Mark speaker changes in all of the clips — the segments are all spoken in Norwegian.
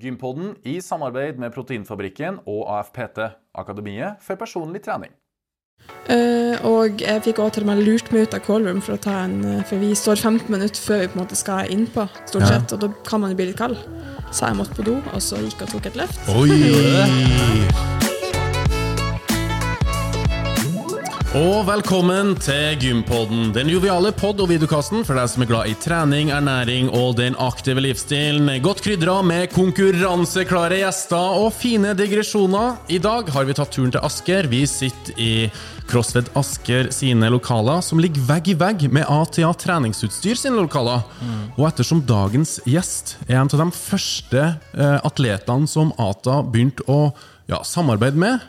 Speaker 1: Gympodden i samarbeid med Proteinfabrikken og AFPT, Akademiet for personlig trening.
Speaker 2: Eh, og jeg fikk også til og med lurt meg ut av callroom, for, å ta en, eh, for vi står 15 minutter før vi på en måte skal innpå, stort
Speaker 3: Ja.
Speaker 2: sett, og da kan man jo bli litt kald. Så jeg måtte på do, og så gikk jeg og tok et løft.
Speaker 3: Oi! Og velkommen til Gympodden, den joviale pod- og videokasten for deg som er glad i trening, ernæring og den aktive livsstilen. Godt krydra med konkurranseklare gjester og fine digresjoner. I dag har vi tatt turen til Asker. Vi sitter i CrossFit Asker sine lokaler, som ligger vegg i vegg med ATA treningsutstyr sine lokaler. Og ettersom dagens gjest er en av de første eh, atletene som ATA begynte å ja, samarbeide med,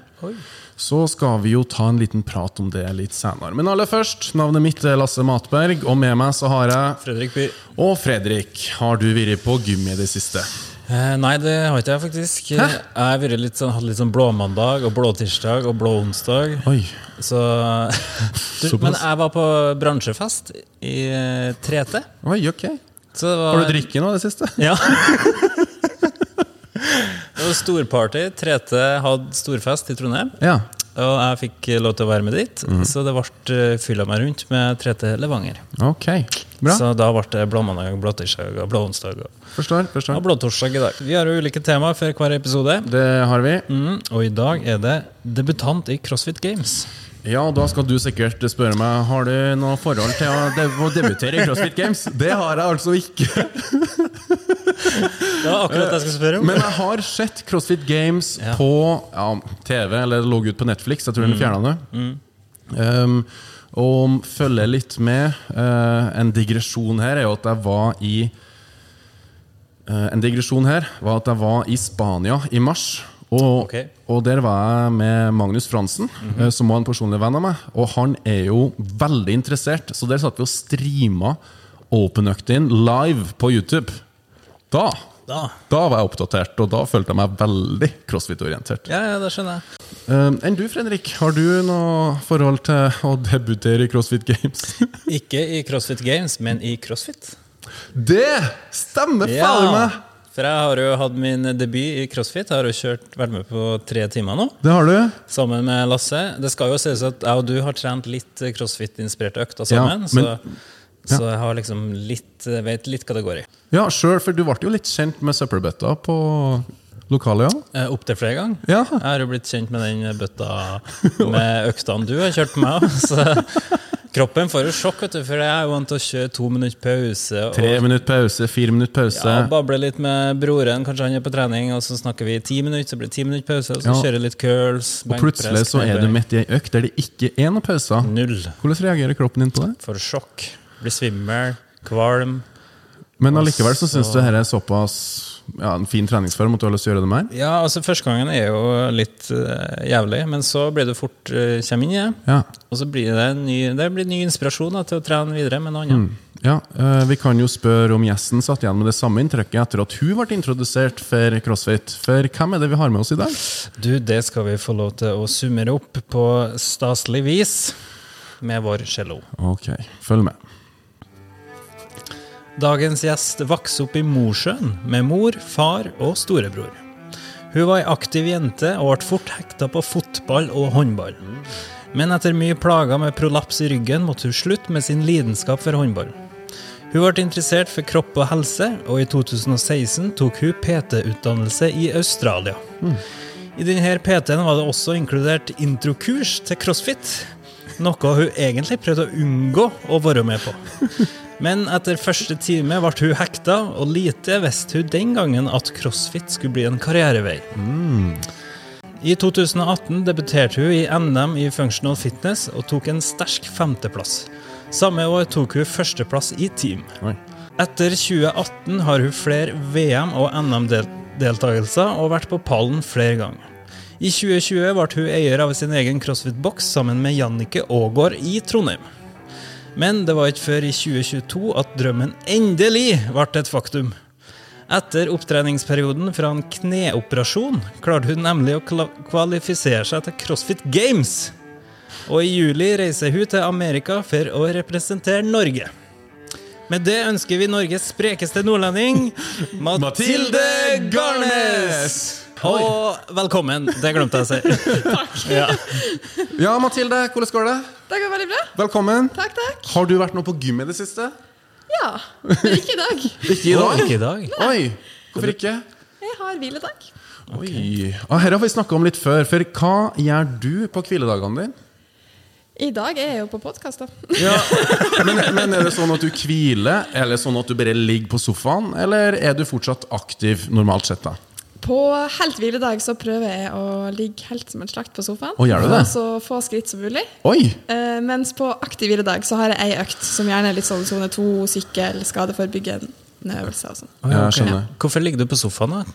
Speaker 3: så skal vi jo ta en liten prat om det litt senere. Men aller først, navnet mitt er Lasse Matberg, og med meg så har jeg
Speaker 4: Fredrik Byhr.
Speaker 3: Og Fredrik, har du vært på gym i det siste?
Speaker 4: Eh, nei, det har ikke jeg faktisk.
Speaker 3: Hæ?
Speaker 4: Jeg har vært litt sånn, hatt litt sånn blåmandag og blåtirsdag og blåonsdag.
Speaker 3: Oi.
Speaker 4: Så du,
Speaker 3: Såpass.
Speaker 4: Men jeg var på bransjefest i eh, 3T.
Speaker 3: Oi, ok.
Speaker 4: Så det var,
Speaker 3: Har du drikket nå i det siste?
Speaker 4: Ja. det var storparty. 3T hadde storfest i Trondheim.
Speaker 3: Ja.
Speaker 4: Og jeg fikk lov til å være med dit,
Speaker 3: Mhm.
Speaker 4: så det ble fylla meg rundt med 3T Levanger.
Speaker 3: Ok. Bra.
Speaker 4: Så da ble det blåmandag, blåtirsdag og blåonsdag. Og
Speaker 3: Forstår.
Speaker 4: Ja,
Speaker 3: forstår.
Speaker 4: blåtorsdag i dag. Vi har jo ulike temaer for hver episode.
Speaker 3: Det har vi.
Speaker 4: Mm, og i dag er det debutant i CrossFit Games.
Speaker 3: Ja, da skal du sikkert spørre meg Har du noe forhold til å, de å debutere i CrossFit Games. Det har jeg altså ikke.
Speaker 4: Det var akkurat det jeg skulle spørre
Speaker 3: Men jeg har sett CrossFit Games
Speaker 4: Ja. Mm.
Speaker 3: på ja, TV, eller det lå ut på Netflix. Jeg tror den fjerna det. Um, og følger litt med. eh, en digresjon her er jo at jeg var i eh, En digresjon her var at jeg var i Spania i mars. Og,
Speaker 4: Ok. Mhm.
Speaker 3: og der var jeg med Magnus Fransen, eh, som var en personlig venn av meg. Og han er jo veldig interessert, så der satt vi og streama openøktene live på YouTube. Da,
Speaker 4: Da.
Speaker 3: da var jeg oppdatert, og da følte jeg meg veldig crossfit-orientert.
Speaker 4: Ja, ja, det skjønner jeg.
Speaker 3: Um, enn du, Fredrik, har du noe forhold til å debutere i CrossFit Games?
Speaker 4: Ikke i CrossFit Games, men i CrossFit.
Speaker 3: Det stemmer fader meg!
Speaker 4: For jeg har jo hatt min debut i CrossFit. Jeg har jo kjørt, vært med på tre timer nå,
Speaker 3: Det har du.
Speaker 4: sammen med Lasse. Det skal jo sies at jeg og du har trent litt CrossFit-inspirerte økter
Speaker 3: Ja,
Speaker 4: sammen,
Speaker 3: men-
Speaker 4: så, så jeg har liksom litt, vet litt kategori.
Speaker 3: Ja, sure, for du ble jo litt kjent med søppelbøtta på lokalet, ja?
Speaker 4: Eh, Opptil flere ganger.
Speaker 3: Ja.
Speaker 4: Jeg har jo blitt kjent med den bøtta med øktene du har kjørt på meg. Så kroppen får jo sjokk, vet du, for jeg er jo vant til å kjøre to minutter pause. Og
Speaker 3: Tre minutter pause, fire minutter pause.
Speaker 4: ja, Bable litt med broren, kanskje han er på trening, og så snakker vi i ti minutter, så blir det ti minutter pause, og så
Speaker 3: Ja.
Speaker 4: kjører jeg litt curls.
Speaker 3: og plutselig så er du midt i ei økt der det ikke er noen pauser.
Speaker 4: Null.
Speaker 3: Hvordan reagerer kroppen din på det?
Speaker 4: Får sjokk. Blir svimmel. Kvalm.
Speaker 3: Men allikevel så
Speaker 4: Altså-
Speaker 3: syns du dette er såpass ja, en fin treningsform at du har lyst til å gjøre det mer?
Speaker 4: Ja, altså Første gangen er jo litt eh, jævlig, men så blir du fort uh, Kjem inn i det.
Speaker 3: Ja.
Speaker 4: Og så blir det, en ny, det blir ny inspirasjon da, til å trene videre med noe
Speaker 3: Mm.
Speaker 4: annet.
Speaker 3: Ja, eh, Vi kan jo spørre om gjesten satt igjen med det samme inntrykket etter at hun ble introdusert for crossfit. For hvem er det vi har med oss i dag?
Speaker 4: Du, det skal vi få lov til å summere opp på staselig vis med vår cello.
Speaker 3: Ok, følg med.
Speaker 4: Dagens gjest vokste opp i Mosjøen med mor, far og storebror. Hun var ei aktiv jente og ble fort hekta på fotball og håndball. Men etter mye plager med prolaps i ryggen måtte hun slutte med sin lidenskap for håndball. Hun ble interessert for kropp og helse, og i 2016 tok hun PT-utdannelse i Australia. I denne PT-en var det også inkludert introkurs til crossfit, noe hun egentlig prøvde å unngå å være med på. Men etter første time ble hun hekta, og lite visste hun den gangen at crossfit skulle bli en karrierevei. I 2018 debuterte hun i NM i Functional Fitness og tok en sterk femteplass. Samme år tok hun førsteplass i team.
Speaker 3: Oi.
Speaker 4: Etter 2018 har hun flere VM- og NM-deltakelser og vært på pallen flere ganger. I 2020 ble hun eier av sin egen CrossFit-boks sammen med Jannike Aagaard i Trondheim. Men det var ikke før i 2022 at drømmen endelig ble et faktum. Etter opptreningsperioden fra en kneoperasjon klarte hun nemlig å kla- kvalifisere seg til CrossFit Games. Og i juli reiser hun til Amerika for å representere Norge. Med det ønsker vi Norges sprekeste nordlending Mathilde Garner!
Speaker 3: Yes!
Speaker 4: Og velkommen! Det glemte jeg å si.
Speaker 3: Ja, Mathilde, hvordan går det?
Speaker 2: Det går veldig bra.
Speaker 3: Velkommen.
Speaker 2: Takk, takk.
Speaker 3: Har du vært noe på gym i det siste?
Speaker 2: Ja, men ikke i dag.
Speaker 3: Ikke i
Speaker 4: Å,
Speaker 3: dag?
Speaker 4: Ikke i dag.
Speaker 3: Oi, hvorfor ikke?
Speaker 2: Jeg har hviledag.
Speaker 3: Oi. Og her har vi snakka om litt før, for hva gjør du på hviledagene dine?
Speaker 2: I dag er jeg jo på podkast, da.
Speaker 3: Ja. Men, men er det sånn at du hviler, eller sånn at du bare ligger på sofaen, eller er du fortsatt aktiv normalt sett? da?
Speaker 2: På helt hviledag så prøver jeg å ligge helt som en slakt på sofaen.
Speaker 3: Å, gjør du det?
Speaker 2: For Så få skritt som mulig.
Speaker 3: Oi!
Speaker 2: Eh, mens på aktiv hviledag så har jeg ei økt som gjerne er litt sånn sone to, sykkel, skadeforebyggende øvelser og sånn.
Speaker 4: Å, ja,
Speaker 3: Jeg
Speaker 4: ok.
Speaker 3: skjønner.
Speaker 4: Hvorfor ligger du på sofaen, da?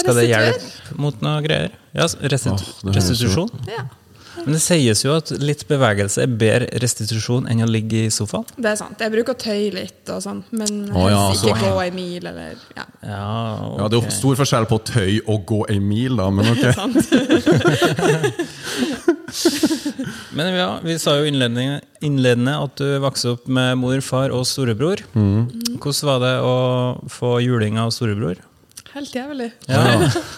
Speaker 4: Skal det
Speaker 2: Restituer.
Speaker 4: hjelpe mot noe greier? Ja, restitu
Speaker 3: Åh, det høres
Speaker 4: restitusjon?
Speaker 2: Ja,
Speaker 4: Men det sies jo at litt bevegelse er bedre restitusjon enn å ligge i sofaen.
Speaker 2: det er sant. Jeg bruker å tøye litt og sånn, men helst
Speaker 3: Å, ja, sånn.
Speaker 2: ikke
Speaker 3: så-
Speaker 2: gå ei mil eller ja,
Speaker 4: Ja,
Speaker 3: Ja, Det er jo stor forskjell på å tøy og gå en mil, da, men ok.
Speaker 2: sant.
Speaker 4: Men ja, vi sa jo innledende, innledende at du vokste opp med mor, far og storebror.
Speaker 3: Mm.
Speaker 4: Hvordan var det å få juling av storebror?
Speaker 2: Helt jævlig.
Speaker 3: Ja.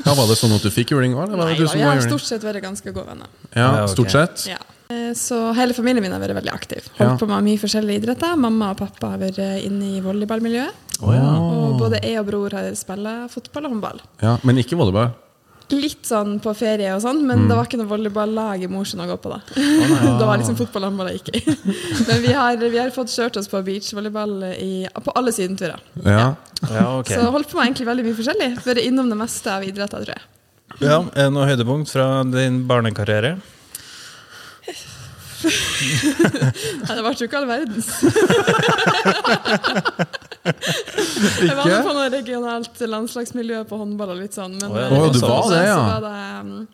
Speaker 3: Ja, var det sånn at du fikk juling òg, eller var
Speaker 2: Nei
Speaker 3: det du
Speaker 2: da,
Speaker 3: som
Speaker 2: vi
Speaker 3: var
Speaker 2: har
Speaker 3: juling?
Speaker 2: stort sett vært ganske gode venner.
Speaker 3: Ja,
Speaker 4: Ja, ok.
Speaker 3: stort sett.
Speaker 2: Ja. Eh, Så hele familien min har vært veldig aktiv. Holdt
Speaker 3: Ja.
Speaker 2: på med mye forskjellige idretter. Mamma og pappa har vært eh, inne i volleyballmiljøet.
Speaker 3: Å, ja.
Speaker 2: Og både jeg og bror har spilt fotball og håndball.
Speaker 3: Ja, men ikke volleyball.
Speaker 2: Litt sånn på ferie og sånn,
Speaker 3: Mm.
Speaker 2: men det var ikke noe volleyballag i Mosjøen å gå på da. det var liksom fotball og håndball jeg gikk i. Men vi har, vi har fått kjørt oss på beachvolleyball i- på alle sydenturer.
Speaker 3: Ja.
Speaker 4: Ja, ok.
Speaker 2: Så holdt på med egentlig veldig mye forskjellig. Vært innom det meste av idretter, tror jeg.
Speaker 4: Ja,
Speaker 3: eh,
Speaker 4: er det noe høydepunkt fra din barnekarriere?
Speaker 2: Nei, det ble jo ikke all verdens. Jeg var med på noe regionalt landslagsmiljø på håndball og litt sånn, men
Speaker 4: Å, ja.
Speaker 2: eh,
Speaker 4: Å,
Speaker 3: du
Speaker 2: så-
Speaker 3: var
Speaker 2: så-
Speaker 3: det,
Speaker 2: Så
Speaker 3: ja.
Speaker 2: var det um,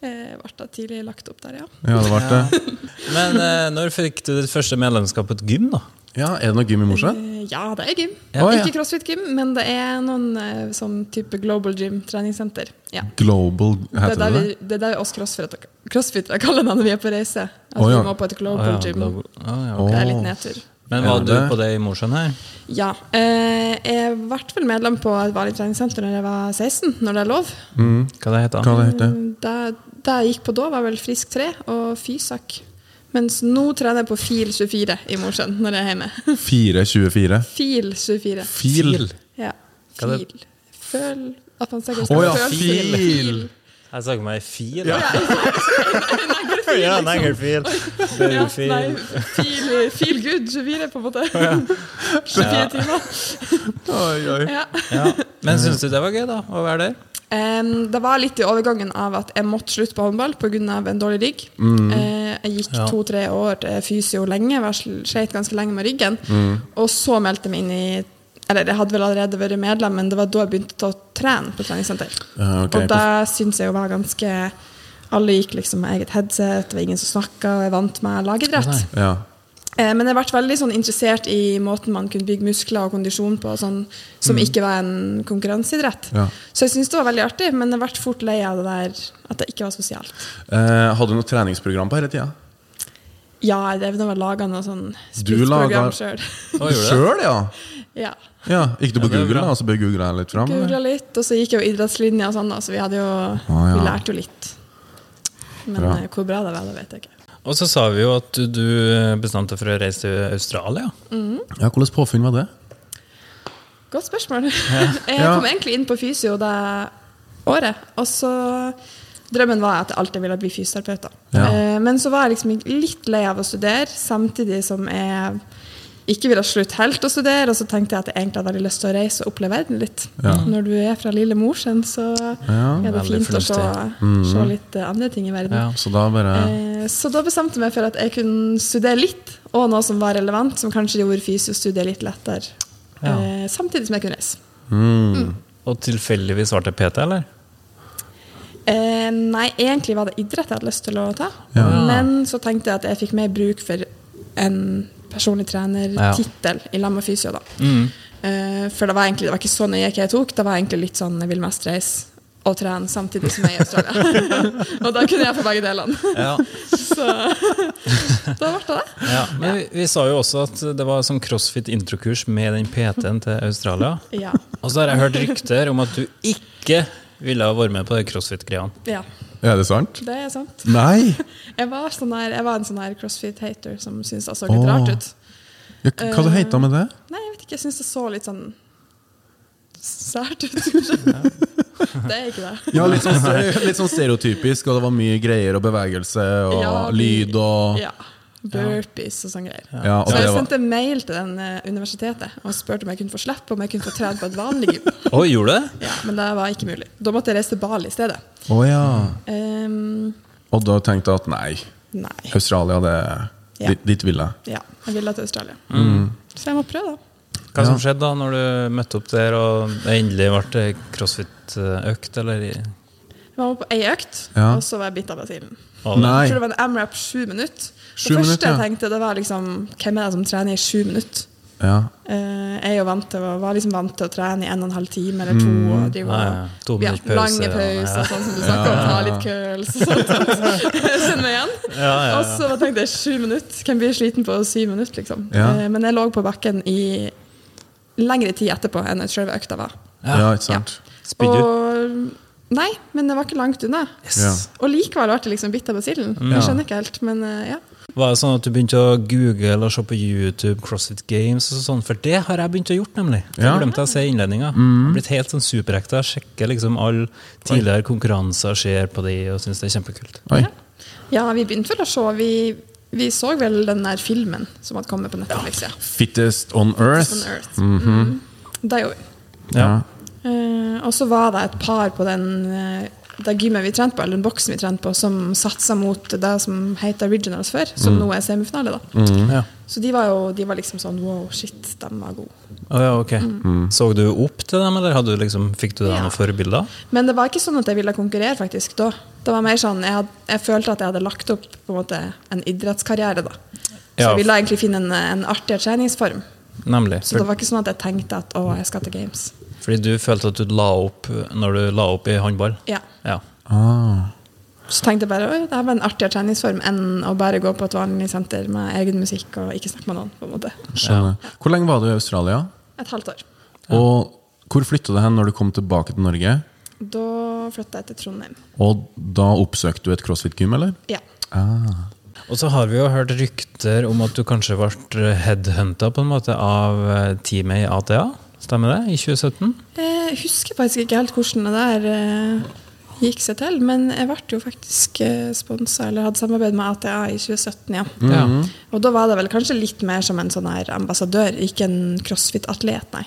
Speaker 2: eh, ble da tidlig lagt opp der, ja.
Speaker 3: ja, det ble det.
Speaker 4: Men eh, når fikk du ditt første medlemskap på et gym, da?
Speaker 3: Ja, Er det noe gym i Mosjøen?
Speaker 2: Eh, Ja, det er gym.
Speaker 4: Ja.
Speaker 3: Å, ja.
Speaker 2: Ikke CrossFit-gym, men det er noen eh, sånn type Global Gym treningssenter. Ja.
Speaker 3: Global,
Speaker 2: Det er
Speaker 3: heter
Speaker 2: der
Speaker 3: det
Speaker 2: vi,
Speaker 3: det?
Speaker 2: det er der oss crossfit- crossfitere kaller det når vi er på reise. At
Speaker 3: Å, ja.
Speaker 2: vi må på et Global
Speaker 4: Å, ja,
Speaker 2: Gym.
Speaker 4: global- Å, ja, ok.
Speaker 2: Det er
Speaker 3: Å.
Speaker 2: litt nedtur.
Speaker 4: Men var
Speaker 3: Ja,
Speaker 4: du
Speaker 3: det-
Speaker 4: på det i Mosjøen her?
Speaker 2: Ja. Eh, jeg ble vel medlem på et vanlig treningssenter når jeg var 16, når det er lov.
Speaker 4: Hva det heter
Speaker 3: Mm. Hva
Speaker 4: det?
Speaker 3: det heter
Speaker 2: Det, det jeg gikk på da, var vel Frisk 3 og Fysak. Mens nå trener jeg på Fil 24 i Mosjøen når jeg er hjemme.
Speaker 3: 424.
Speaker 2: Fil 24.
Speaker 3: Fil.
Speaker 2: Ja.
Speaker 4: Hva er det?
Speaker 2: Fil. Føl at man sikkert
Speaker 3: Å
Speaker 2: skal
Speaker 3: ja,
Speaker 2: føle
Speaker 3: fil.
Speaker 4: Jeg sa ikke meg fil.
Speaker 3: Ja.
Speaker 4: Ja, en engelfil.
Speaker 2: Ja,
Speaker 4: Børufil.
Speaker 2: nei, fil, fil good 24, på en måte. 24 timer.
Speaker 3: Oi, oi.
Speaker 2: Ja.
Speaker 4: Ja. Men syns du det var gøy, da? Å være der?
Speaker 2: Em, det var litt i overgangen av at jeg måtte slutte på håndball pga. en dårlig rygg.
Speaker 3: Mm.
Speaker 2: Eh, jeg gikk
Speaker 4: Ja.
Speaker 2: to-tre år til fysio lenge, var sl- sleit ganske lenge med ryggen.
Speaker 3: Mm.
Speaker 2: Og så meldte jeg meg inn i Eller jeg hadde vel allerede vært medlem, men det var da jeg begynte å trene på treningssenter.
Speaker 3: Ja, ok.
Speaker 2: Og det syns jeg jo var ganske Alle gikk liksom med eget headset, det var ingen som snakka, og jeg vant med lagidrett.
Speaker 3: Ja.
Speaker 2: Eh, Men jeg har vært veldig sånn interessert i måten man kunne bygge muskler og kondisjon på, sånn, som ikke var en konkurranseidrett.
Speaker 3: Mm. Ja.
Speaker 2: Så jeg syns det var veldig artig, men jeg ble fort lei av det der at det ikke var sosialt.
Speaker 3: Eh, hadde du noe treningsprogram på denne tida?
Speaker 2: Ja, jeg drev nå og laga noe sånn
Speaker 3: Du
Speaker 2: splittprogram
Speaker 3: laget-
Speaker 2: sjøl.
Speaker 4: Å, gjorde du det?
Speaker 3: Sjøl, ja.
Speaker 2: ja.
Speaker 3: ja! Gikk du på
Speaker 4: Ja, det er
Speaker 3: Google,
Speaker 4: bra.
Speaker 3: da, og så bare googla litt fram? eller?
Speaker 2: Googla litt, og så gikk jeg jo idrettslinja og sånn, da, så vi hadde jo
Speaker 3: ja.
Speaker 2: Vi lærte jo litt. Men
Speaker 3: Bra.
Speaker 2: eh, hvor bra det var, det vet jeg ikke.
Speaker 4: Og så sa vi jo at du- du bestemte deg for å reise til Australia.
Speaker 3: Ja, Hvordan påfunn var det?
Speaker 2: Godt spørsmål. jeg
Speaker 3: Ja.
Speaker 2: kom egentlig inn på fysio det året, og så Drømmen var at jeg alltid ville bli fysioterapeut. da.
Speaker 3: Ja.
Speaker 2: Eh, Men så var jeg liksom litt lei av å studere, samtidig som jeg ikke ville slutte helt å studere. Og så tenkte jeg at jeg egentlig hadde veldig lyst til å reise og oppleve verden litt.
Speaker 3: Ja.
Speaker 2: Når du er fra lille Mosjøen, så er det
Speaker 4: veldig
Speaker 2: fint å se,
Speaker 4: fornuftig.
Speaker 3: Mm.
Speaker 2: se litt eh, andre ting i verden.
Speaker 4: Ja.
Speaker 3: Så da bare
Speaker 2: Eh, Så da bestemte jeg meg for at jeg kunne studere litt, og noe som var relevant, som kanskje gjorde fysiostudiet litt lettere.
Speaker 4: Ja.
Speaker 2: eh, Samtidig som jeg kunne reise.
Speaker 4: Og tilfeldigvis var det PT, eller?
Speaker 2: Eh, nei, egentlig var det idrett jeg hadde lyst til å ta.
Speaker 3: Ja.
Speaker 2: Men så tenkte jeg at jeg fikk mer bruk for en personlig trener-tittel i lag med fysio. da.
Speaker 4: Mm.
Speaker 2: Eh, for det var egentlig det var ikke så nøye hva jeg tok. Det var egentlig litt sånn jeg vil mest reise og trene samtidig som jeg er i Australia. og da kunne jeg få begge delene.
Speaker 4: Ja.
Speaker 2: så da ble det det.
Speaker 4: ja. Men vi, vi sa jo også at det var sånn crossfit introkurs med den PT-en til Australia.
Speaker 2: Ja.
Speaker 4: Og så har jeg hørt rykter om at du ikke ville ha vært med på de crossfit-greiene.
Speaker 2: Ja,
Speaker 3: Er det sant?
Speaker 2: det er sant.
Speaker 3: Nei!
Speaker 2: Jeg var, sånn her, jeg var en sånn her crossfit-hater som syntes det så litt rart ut.
Speaker 3: Ja, k-
Speaker 2: Eh.
Speaker 3: hva det heter det med det?
Speaker 2: Nei, jeg vet ikke, jeg syns det så litt sånn sært ut. kanskje. Det er ikke det.
Speaker 3: Ja, litt sånn, stere- litt sånn stereotypisk, og det var mye greier og bevegelse og
Speaker 2: Ja, de-
Speaker 3: lyd og
Speaker 2: Ja. Burpees og sånne greier.
Speaker 3: Ja, og
Speaker 2: så
Speaker 3: det
Speaker 2: jeg
Speaker 3: var-
Speaker 2: sendte mail til den eh, universitetet og spurte om jeg kunne få slippe, om jeg kunne få trene på et vanlig gym.
Speaker 4: Oi, gjorde du det?
Speaker 2: Ja, men det var ikke mulig. Da måtte jeg reise til Bali i stedet.
Speaker 3: Å ja.
Speaker 2: Ehm,
Speaker 3: Mm. Og da tenkte jeg at nei,
Speaker 2: nei.
Speaker 3: Australia, det
Speaker 2: Ja.
Speaker 3: dit, dit vil jeg.
Speaker 2: Ja, jeg ville til Australia.
Speaker 3: Mm.
Speaker 2: Så jeg må prøve, da.
Speaker 4: Hva som skjedde da når du møtte opp der og det endelig ble crossfit-økt? eller i-
Speaker 2: Jeg var med på ei økt,
Speaker 3: Ja.
Speaker 2: og så var jeg bitt av basillen.
Speaker 4: var det-
Speaker 3: Nei.
Speaker 2: Jeg tror det var en AMRAP sju minutter. Det
Speaker 3: Sju
Speaker 2: første
Speaker 3: minutter, ja.
Speaker 2: jeg tenkte, det var liksom Hvem er det som trener i sju minutter?
Speaker 3: Ja.
Speaker 2: Eh, jeg er jo vant til, å- var liksom vant til å trene i en og en halv time eller to.
Speaker 3: Mm.
Speaker 2: Og drive,
Speaker 4: Ja, ja. To
Speaker 2: ja,
Speaker 4: minutter pause,
Speaker 2: lange
Speaker 4: ja.
Speaker 2: pauser, sånn som du snakker om. Ta litt curls og sånt. Jeg Kjenner meg igjen. Og så bare tenkte jeg sju minutter. Kan bli sliten på syv minutter, liksom.
Speaker 3: Ja.
Speaker 2: Eh, men jeg lå på bakken i lengre tid etterpå enn selve økta var.
Speaker 3: ja, ikke sant?
Speaker 4: Spydde du?
Speaker 2: Og Nei, men det var ikke langt unna.
Speaker 3: Ja.
Speaker 2: Og likevel ble det liksom bitt av basillen. Jeg skjønner ikke helt, men eh, ja.
Speaker 4: Var det sånn at du begynte å google og se på YouTube, CrossFit Games og sånn? For det har jeg begynt å gjøre, nemlig. For
Speaker 3: Ja. Mm.
Speaker 4: Jeg glemte å se innledninga. Jeg har blitt helt sånn superekte. Jeg sjekker liksom alle tidligere konkurranser, ser på de og syns det er kjempekult.
Speaker 3: Oi.
Speaker 2: Ja, vi begynte vel å se. Vi, vi så vel den der filmen som hadde kommet på Netflix. Ja.
Speaker 3: Fittest on earth.
Speaker 2: On Earth. Mm. Det gjorde vi.
Speaker 3: Ja.
Speaker 2: Eh, og så var det et par på den eh, det gymmet vi trente på, eller den boksen vi trente på, som satsa mot det som het Originals før, som nå er semifinale. da.
Speaker 3: Mm.
Speaker 4: Ja.
Speaker 2: Så de var jo de var liksom sånn wow, shit, de var gode.
Speaker 4: Å ja, ok.
Speaker 3: Mm.
Speaker 4: Så du opp til dem, eller hadde du liksom, fikk du
Speaker 2: Mm.
Speaker 4: deg
Speaker 2: Ja.
Speaker 4: noen forbilder?
Speaker 2: Men det var ikke sånn at jeg ville konkurrere faktisk da. Det var mer sånn, Jeg, had, jeg følte at jeg hadde lagt opp på en måte en idrettskarriere. da. Så
Speaker 4: Ja.
Speaker 2: jeg ville egentlig finne en, en artigere treningsform.
Speaker 4: Nemlig.
Speaker 2: Så det
Speaker 4: For,
Speaker 2: var ikke sånn at jeg tenkte at å, jeg skal til Games.
Speaker 4: fordi du følte at du la opp når du la opp i håndball?
Speaker 2: Ja.
Speaker 4: Ja.
Speaker 3: Ah.
Speaker 2: Så tenkte jeg bare oi, det her var en artigere treningsform enn å bare gå på et vanlig senter med egen musikk og ikke snakke med noen. på en måte.
Speaker 3: Skjønner. Hvor lenge var du i Australia?
Speaker 2: Et halvt år.
Speaker 3: Og hvor flytta du hen når du kom tilbake til Norge?
Speaker 2: Da flytta jeg til Trondheim.
Speaker 3: Og da oppsøkte du et crossfit-gym, eller?
Speaker 2: Ja.
Speaker 3: Ah.
Speaker 4: Og så har vi jo hørt rykter om at du kanskje ble headhunta på en måte av eh, teamet i ATA. Stemmer det? I 2017?
Speaker 2: Jeg Eh, husker faktisk ikke helt hvordan det der eh, gikk seg til, men jeg ble jo faktisk sponsa, eller hadde samarbeid med ATA i 2017, ja.
Speaker 4: Ja.
Speaker 2: Og da var det vel kanskje litt mer som en sånn her ambassadør, ikke en crossfit-atlet, nei.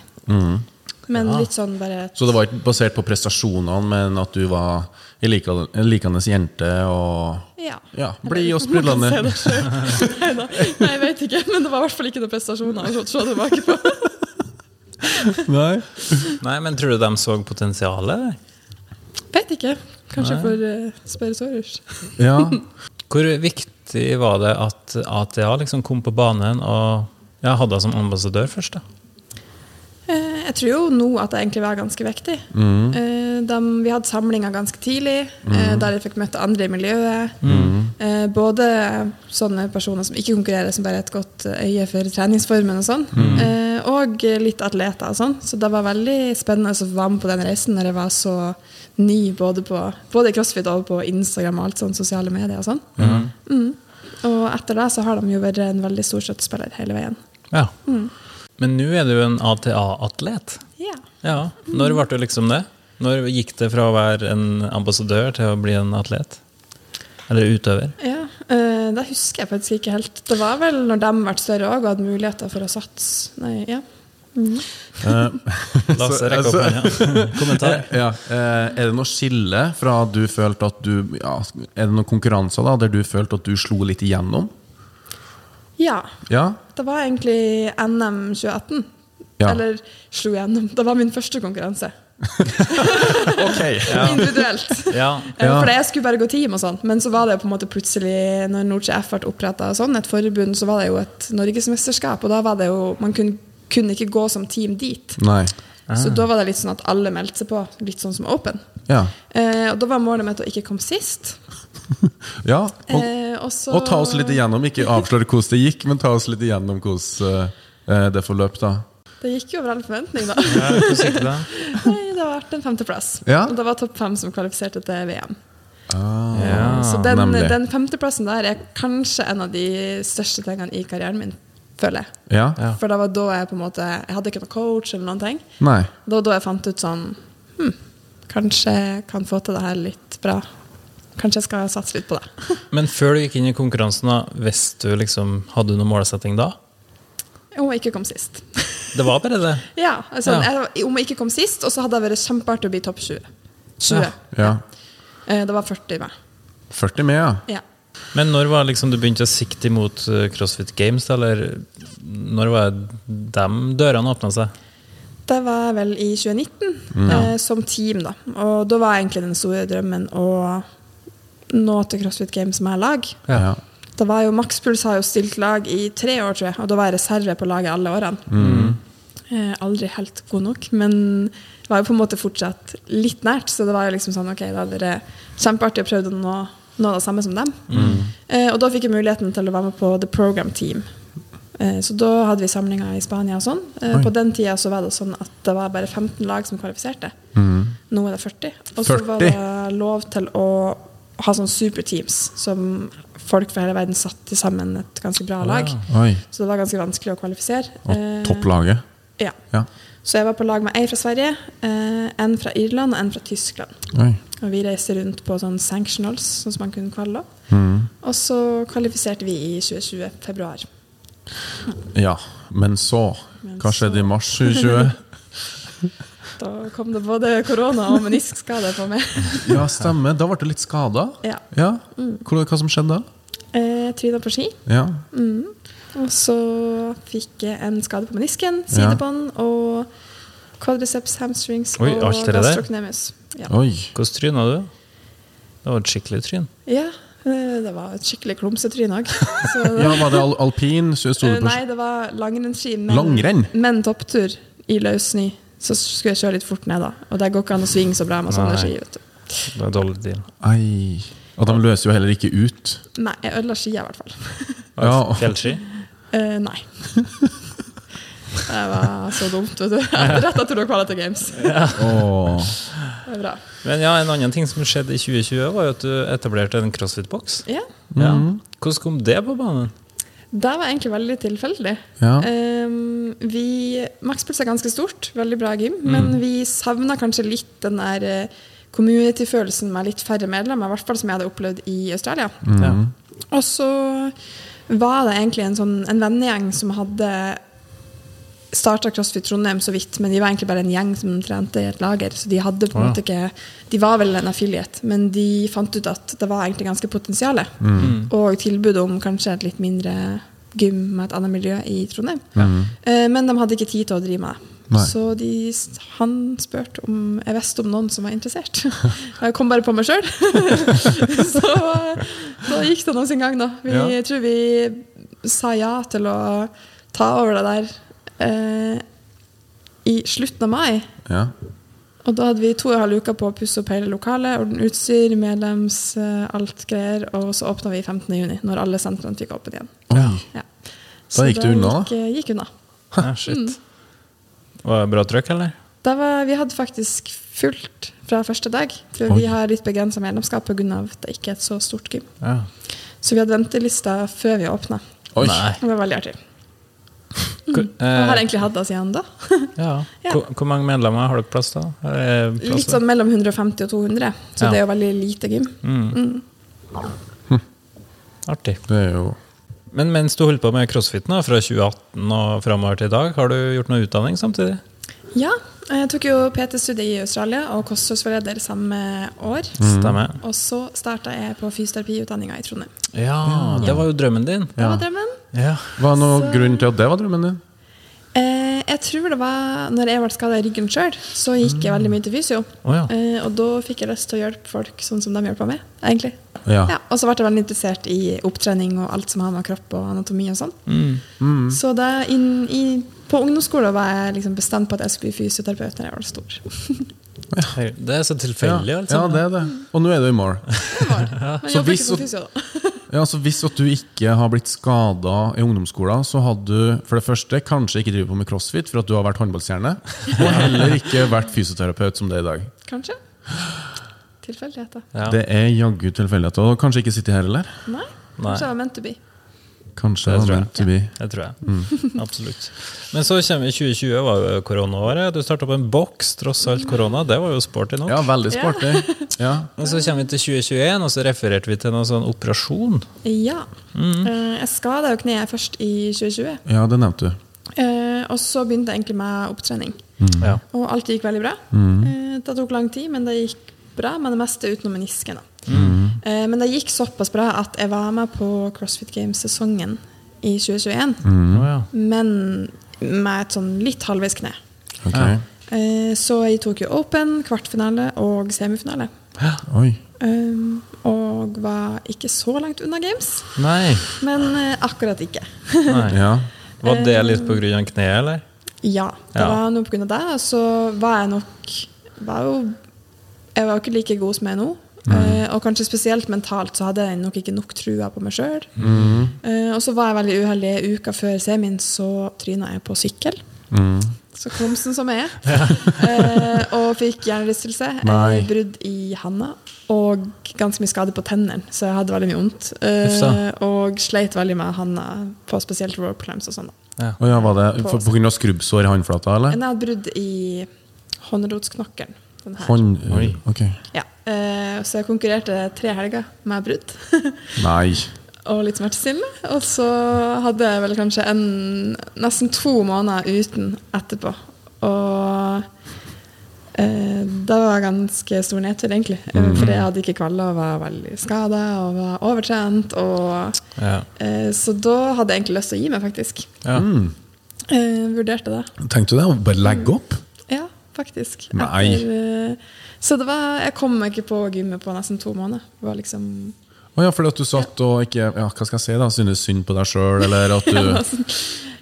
Speaker 2: Men litt sånn bare
Speaker 3: Så det var ikke basert på prestasjonene, men at du var en lika- en likende jente og
Speaker 2: Ja.
Speaker 3: Ja, blid og sprudlende.
Speaker 2: Man kan se det selv. Neida. Nei, jeg vet ikke, men det var i hvert fall ikke noen prestasjoner å se tilbake på.
Speaker 3: Nei.
Speaker 4: Nei, men tror du de så potensialet? eller?
Speaker 2: Vet ikke. Kanskje jeg får eh, spørre Sorus.
Speaker 3: Ja.
Speaker 4: Hvor viktig var det at ATA liksom kom på banen og ja, hadde deg som ambassadør først? da?
Speaker 2: Eh, Jeg tror jo nå at det egentlig var ganske viktig. Eh, dem- vi hadde samlinger ganske tidlig, eh, der jeg fikk møte andre i miljøet. Eh, både sånne personer som ikke konkurrerer, som bare har et godt eh, øye for treningsformen og sånn, eh, og litt atleter og sånn. Så det var veldig spennende å være med på den reisen når jeg var så ny både på både i crossfit og på Instagram og alt sånn, sosiale medier og sånn. Mm. Og etter det så har de jo vært en veldig stor støttespiller hele veien.
Speaker 4: Ja. Men nå er du en ATA-atlet.
Speaker 2: Ja.
Speaker 4: Ja. Når ble du liksom det? Når gikk det fra å være en ambassadør til å bli en atlet? Eller utøver?
Speaker 2: Ja, eh, det husker jeg faktisk ikke helt. Det var vel når de ble større òg og hadde muligheter for å satse. Nei, ja.
Speaker 4: Lasse, rekk opp hånda. Kommentar.
Speaker 3: ja. Eh, Er det noe skille fra at du følte at du ja, Er det noen konkurranser da, der du følte at du slo litt igjennom?
Speaker 2: ja.
Speaker 3: Ja?
Speaker 2: Det var egentlig NM 2018.
Speaker 3: Ja.
Speaker 2: Eller slo gjennom. Det var min første konkurranse.
Speaker 3: Ok.
Speaker 2: Individuelt.
Speaker 4: Ja.
Speaker 2: Eh,
Speaker 3: Ja.
Speaker 2: For jeg skulle bare gå team og sånn, men så var det jo på en måte plutselig, når Norge F ble oppretta sånn, et forbund, så var det jo et norgesmesterskap, og da var det jo Man kunne, kunne ikke gå som team dit.
Speaker 3: Nei.
Speaker 2: Så
Speaker 3: Ah.
Speaker 2: da var det litt sånn at alle meldte seg på, litt sånn som Open.
Speaker 3: Ja.
Speaker 2: Eh, og da var målet mitt å ikke komme sist.
Speaker 3: ja. Og,
Speaker 2: Eh, og så-
Speaker 3: og ta oss litt igjennom. Ikke avsløre hvordan det gikk, men ta oss litt igjennom hvordan eh, det eh, forløp, da.
Speaker 2: Det gikk jo over all forventning, da.
Speaker 4: Ja, hvordan gikk det?
Speaker 2: Nei, det ble en femteplass.
Speaker 3: Ja.
Speaker 2: Og det var topp fem som kvalifiserte til VM.
Speaker 3: Ah,
Speaker 4: Ja,
Speaker 2: Eh, Så den,
Speaker 3: nemlig.
Speaker 2: den femteplassen der er kanskje en av de største tingene i karrieren min, føler jeg.
Speaker 3: Ja.
Speaker 4: Ja.
Speaker 2: For det var da jeg på en måte Jeg hadde ikke noen coach eller noen ting.
Speaker 3: Nei.
Speaker 2: Det var da jeg fant ut sånn hm, Kanskje jeg kan få til det her litt bra. Kanskje jeg skal satse litt på det.
Speaker 4: Men før du gikk inn i konkurransen, da, visste du liksom, hadde du noen målsetting da?
Speaker 2: Om jeg ikke kom sist.
Speaker 4: Det var bare det.
Speaker 2: Ja, altså,
Speaker 4: Ja.
Speaker 2: Jeg, om jeg ikke kom sist, og så hadde det vært kjempeartig å bli topp 20. 20.
Speaker 4: Ja.
Speaker 3: Ja.
Speaker 2: Eh, Det var 40 med.
Speaker 3: 40 med, ja.
Speaker 2: Ja.
Speaker 4: Men når var liksom du begynte å sikte imot eh, CrossFit Games, da, eller når var de dørene åpna seg?
Speaker 2: Det var vel i 2019, eh, som team, da. Og da var egentlig den store drømmen å nå til CrossFit Games med lag.
Speaker 3: Ja.
Speaker 2: Det var jo Maxpuls har jo stilt lag i tre år, tror jeg, og da var jeg reserve på laget alle årene. Eh, aldri helt god nok, men var jo på en måte fortsatt litt nært, så det var jo liksom sånn ok, da hadde det kjempeartig å prøve å nå, nå det samme som dem. Eh, og da fikk jeg muligheten til å være med på The Program Team. Eh, så da hadde vi samlinger i Spania og sånn. Eh,
Speaker 3: Oi.
Speaker 2: på den tida så var det sånn at det var bare 15 lag som kvalifiserte. Nå er det 40. Og så
Speaker 3: 40?
Speaker 2: var det Eh, lov til å ha sånne superteams som folk fra hele verden satte sammen et ganske bra lag.
Speaker 3: Oi.
Speaker 2: Så det var ganske vanskelig å kvalifisere.
Speaker 3: Og
Speaker 2: Eh,
Speaker 3: topplaget.
Speaker 2: ja.
Speaker 3: Ja.
Speaker 2: Så jeg var på lag med ei fra Sverige, eh, en fra Irland og en fra Tyskland.
Speaker 3: Oi.
Speaker 2: Og vi reiste rundt på sånn sanctionals, sånn som man kunne kalle det. Og så kvalifiserte vi i 2020, februar.
Speaker 3: Ja. Men så
Speaker 2: Men
Speaker 3: Hva skjedde i
Speaker 2: så-
Speaker 3: mars 2020?
Speaker 2: Da kom det både korona og meniskskade på meg.
Speaker 3: Ja, stemmer. Da ble du litt skada.
Speaker 2: Ja.
Speaker 3: Hva, hva som skjedde da?
Speaker 2: Eh, Tryna på ski.
Speaker 3: Ja.
Speaker 2: Og så fikk jeg en skade på menisken,
Speaker 3: Ja.
Speaker 2: sidebånd og quadriceps, hamstrings
Speaker 4: Oi,
Speaker 2: og
Speaker 4: alt det der?
Speaker 2: gastrocnemius. Ja.
Speaker 3: Oi.
Speaker 4: Hvordan tryna du? Det var et skikkelig tryn.
Speaker 2: ja, eh, det var et skikkelig klumsetryn òg.
Speaker 3: Ja, var det al alpin? Så Sto du på
Speaker 2: Eh, Nei, det var langrennsski, men,
Speaker 3: Langrenn?
Speaker 2: men topptur i løs snø. Så skulle jeg kjøre litt fort ned, da. Og det går ikke an å svinge så bra med sånne
Speaker 4: Nei.
Speaker 2: ski. vet du.
Speaker 4: Det var en dårlig deal.
Speaker 3: Ei. Og de løser jo heller ikke ut.
Speaker 2: Nei, jeg ødela skia i hvert fall.
Speaker 3: Ja.
Speaker 4: Fjellski?
Speaker 2: Eh, nei. Det var så dumt, vet du. Rett etter du kvalet til Games. Det
Speaker 3: Åh.
Speaker 2: er bra.
Speaker 4: Men ja, en annen ting som skjedde i 2020, var jo at du etablerte en crossfit-boks.
Speaker 2: Ja.
Speaker 4: Ja. Hvordan kom det på banen?
Speaker 2: Det var egentlig veldig tilfeldig.
Speaker 3: Ja.
Speaker 2: Um, vi, Maxpuls er ganske stort, veldig bra gym, men vi savna kanskje litt den der eh, community-følelsen med litt færre medlemmer, i hvert fall som jeg hadde opplevd i Australia.
Speaker 4: Ja.
Speaker 2: Og så var det egentlig en, sånn, en vennegjeng som hadde starta CrossFit Trondheim så vidt, men de var egentlig bare en gjeng som trente i et lager. Så de hadde på en
Speaker 4: Å, ja.
Speaker 2: måte ikke De var vel en affiliate, men de fant ut at det var egentlig ganske potensial.
Speaker 4: Mm.
Speaker 2: Og tilbudet om kanskje et litt mindre gym med et annet miljø i Trondheim. Eh, Men de hadde ikke tid til å drive med det.
Speaker 3: Nei.
Speaker 2: Så de, s- han spurte om jeg visste om noen som var interessert. Og jeg kom bare på meg sjøl. så eh, da gikk det nå sin gang, da. Vi,
Speaker 3: Ja.
Speaker 2: Jeg tror vi sa ja til å ta over det der eh, i slutten av mai.
Speaker 3: Ja.
Speaker 2: Og da hadde vi to og en halv uke på å pusse opp hele lokalet, ordne utstyr, medlems, eh, alt greier. Og så åpna vi 15. juni, når alle sentrene fikk åpent igjen.
Speaker 3: Oi.
Speaker 2: Ja.
Speaker 3: Da gikk det unna, da?
Speaker 2: Gikk, eh, gikk unna.
Speaker 4: Ja,
Speaker 2: Mm.
Speaker 4: shit. Var det bra trøkk, eller?
Speaker 2: Da var, vi hadde faktisk fullt fra første dag. For
Speaker 3: Oi.
Speaker 2: vi har litt begrensa medlemskap pga. at det ikke er et så stort gym.
Speaker 4: Ja.
Speaker 2: Så vi hadde ventelista før vi åpna.
Speaker 3: Oi.
Speaker 4: Nei.
Speaker 2: Det var veldig artig.
Speaker 4: Hvor,
Speaker 2: Mm. Jeg har
Speaker 4: eh,
Speaker 2: egentlig hatt det siden da.
Speaker 4: ja.
Speaker 2: Ja.
Speaker 4: Hvor, hvor mange medlemmer har dere plass til? da? Er det plass
Speaker 2: Litt
Speaker 4: til-
Speaker 2: sånn mellom 150 og 200, så
Speaker 4: Ja. Mm.
Speaker 2: det er jo veldig lite gym.
Speaker 4: Artig.
Speaker 3: Det er jo
Speaker 4: Men mens du holdt på med crossfiten da, fra 2018 og framover til i dag, har du gjort noe utdanning samtidig?
Speaker 2: Ja, jeg tok jo PT-studiet i Australia og kostholdsforleder samme år.
Speaker 4: Stemmer.
Speaker 2: Og så starta jeg på fysioterapiutdanninga i Trondheim.
Speaker 4: Ja, det var jo drømmen din.
Speaker 2: Det var drømmen.
Speaker 4: Ja.
Speaker 3: Hva er noen
Speaker 2: Så-
Speaker 3: grunn til at det var drømmen din?
Speaker 2: Eh, jeg tror det var når jeg ble skada i ryggen sjøl, så gikk jeg veldig mye til fysio.
Speaker 4: Mm. Å ja.
Speaker 2: eh, og da fikk jeg lyst til å hjelpe folk sånn som de hjelper meg, egentlig.
Speaker 3: Ja.
Speaker 2: og så ble jeg veldig interessert i opptrening og alt som har med kropp og anatomi og sånn.
Speaker 3: Mm.
Speaker 2: Så da inn i, på ungdomsskolen var jeg liksom bestemt på at jeg skulle bli fysioterapeut når jeg ble stor.
Speaker 4: Det er så tilfeldig,
Speaker 3: ja,
Speaker 4: altså.
Speaker 3: det er det. Og nå er du i mål.
Speaker 2: Men jeg
Speaker 3: Så
Speaker 2: jobber
Speaker 3: hvis
Speaker 2: ikke som
Speaker 3: du-
Speaker 2: fysio, da.
Speaker 3: Ja, altså Hvis at du ikke har blitt skada i ungdomsskolen, så hadde du for det første kanskje ikke drevet på med crossfit for at du har vært håndballstjerne, og heller ikke vært fysioterapeut som det er i dag.
Speaker 2: Kanskje? Tilfeldigheter.
Speaker 4: Ja.
Speaker 3: Det er jaggu tilfeldigheter. Og kanskje ikke sitte her heller.
Speaker 2: Nei?
Speaker 4: Nei.
Speaker 2: Kanskje jeg var meant to be.
Speaker 3: Kanskje
Speaker 4: Det
Speaker 3: det
Speaker 4: tror
Speaker 3: var
Speaker 4: jeg.
Speaker 3: meant to be.
Speaker 4: Det tror jeg. Absolutt. Men så kommer 2020, var jo koronaåret. Du starta på en boks, tross alt korona. Det var jo sporty nok.
Speaker 3: Ja, veldig sporty. Ja.
Speaker 4: Og så kommer vi til 2021, og så refererte vi til noen sånn operasjon.
Speaker 2: Ja.
Speaker 3: Mm.
Speaker 2: Eh, Jeg skada jo kneet først i 2020.
Speaker 3: ja, det nevnte du.
Speaker 2: eh, Og så begynte jeg egentlig med opptrening.
Speaker 4: Ja.
Speaker 2: Og alt gikk veldig bra. Eh, Det tok lang tid, men det gikk bra med det meste utenom menisken. da. Eh, Men det gikk såpass bra at jeg var med på CrossFit Games-sesongen i 2021.
Speaker 4: Å, ja.
Speaker 2: Men med et sånn litt halvveis kne.
Speaker 3: Ok.
Speaker 4: Ja.
Speaker 2: Eh, Så jeg tok jo Open, kvartfinale og semifinale.
Speaker 3: Oi.
Speaker 2: Um, Og var ikke så langt unna Games,
Speaker 4: Nei.
Speaker 2: men eh, akkurat ikke.
Speaker 4: Nei.
Speaker 3: Ja.
Speaker 4: Var det litt på grunn av kneet, eller?
Speaker 2: Ja, det
Speaker 4: Ja.
Speaker 2: var noe på grunn av det. Og så var jeg nok var jo, Jeg var jo ikke like god som jeg er nå.
Speaker 4: Mm.
Speaker 2: Eh, og kanskje spesielt mentalt så hadde jeg nok ikke nok trua på meg sjøl.
Speaker 4: Mm.
Speaker 2: og så var jeg veldig uheldig. Uka før semien så tryna jeg på sykkel.
Speaker 4: Mm.
Speaker 2: Så klumsen som jeg er. eh, og fikk hjernerystelse,
Speaker 3: Nei.
Speaker 2: eh, brudd i handa og ganske mye skade på tennene. Så jeg hadde veldig mye vondt.
Speaker 4: Uff
Speaker 2: Eh,
Speaker 4: da.
Speaker 2: og sleit veldig med handa på spesielt rope climbs og sånn. da.
Speaker 3: Og ja, var det for, på grunn av skrubbsår i håndflata, eller?
Speaker 2: Men jeg hadde brudd i håndrotsknokkelen. Den her.
Speaker 3: Hånd...
Speaker 4: Oi.
Speaker 3: Ok.
Speaker 2: Ja. Eh, Så jeg konkurrerte tre helger med brudd
Speaker 3: Nei.
Speaker 2: og litt smertestillende. Og så hadde jeg vel kanskje en, nesten to måneder uten etterpå. Og eh, det var ganske stor nedtur, egentlig. Eh, Fordi jeg hadde ikke kvaler og var veldig skada og var overtrent. Og,
Speaker 4: Ja.
Speaker 2: eh, så da hadde jeg egentlig lyst til å gi meg, faktisk.
Speaker 4: Ja.
Speaker 2: Eh, vurderte det.
Speaker 3: Tenkte du det? Bare legge opp?
Speaker 2: Ja, faktisk.
Speaker 3: Nei.
Speaker 2: Etter, eh, så det var, jeg kom meg ikke på gymmet på nesten to måneder. Det var liksom
Speaker 3: Å ja, fordi at du satt og ikke Ja, hva skal jeg si, da? Synes synd på deg sjøl, eller at du
Speaker 2: sånn-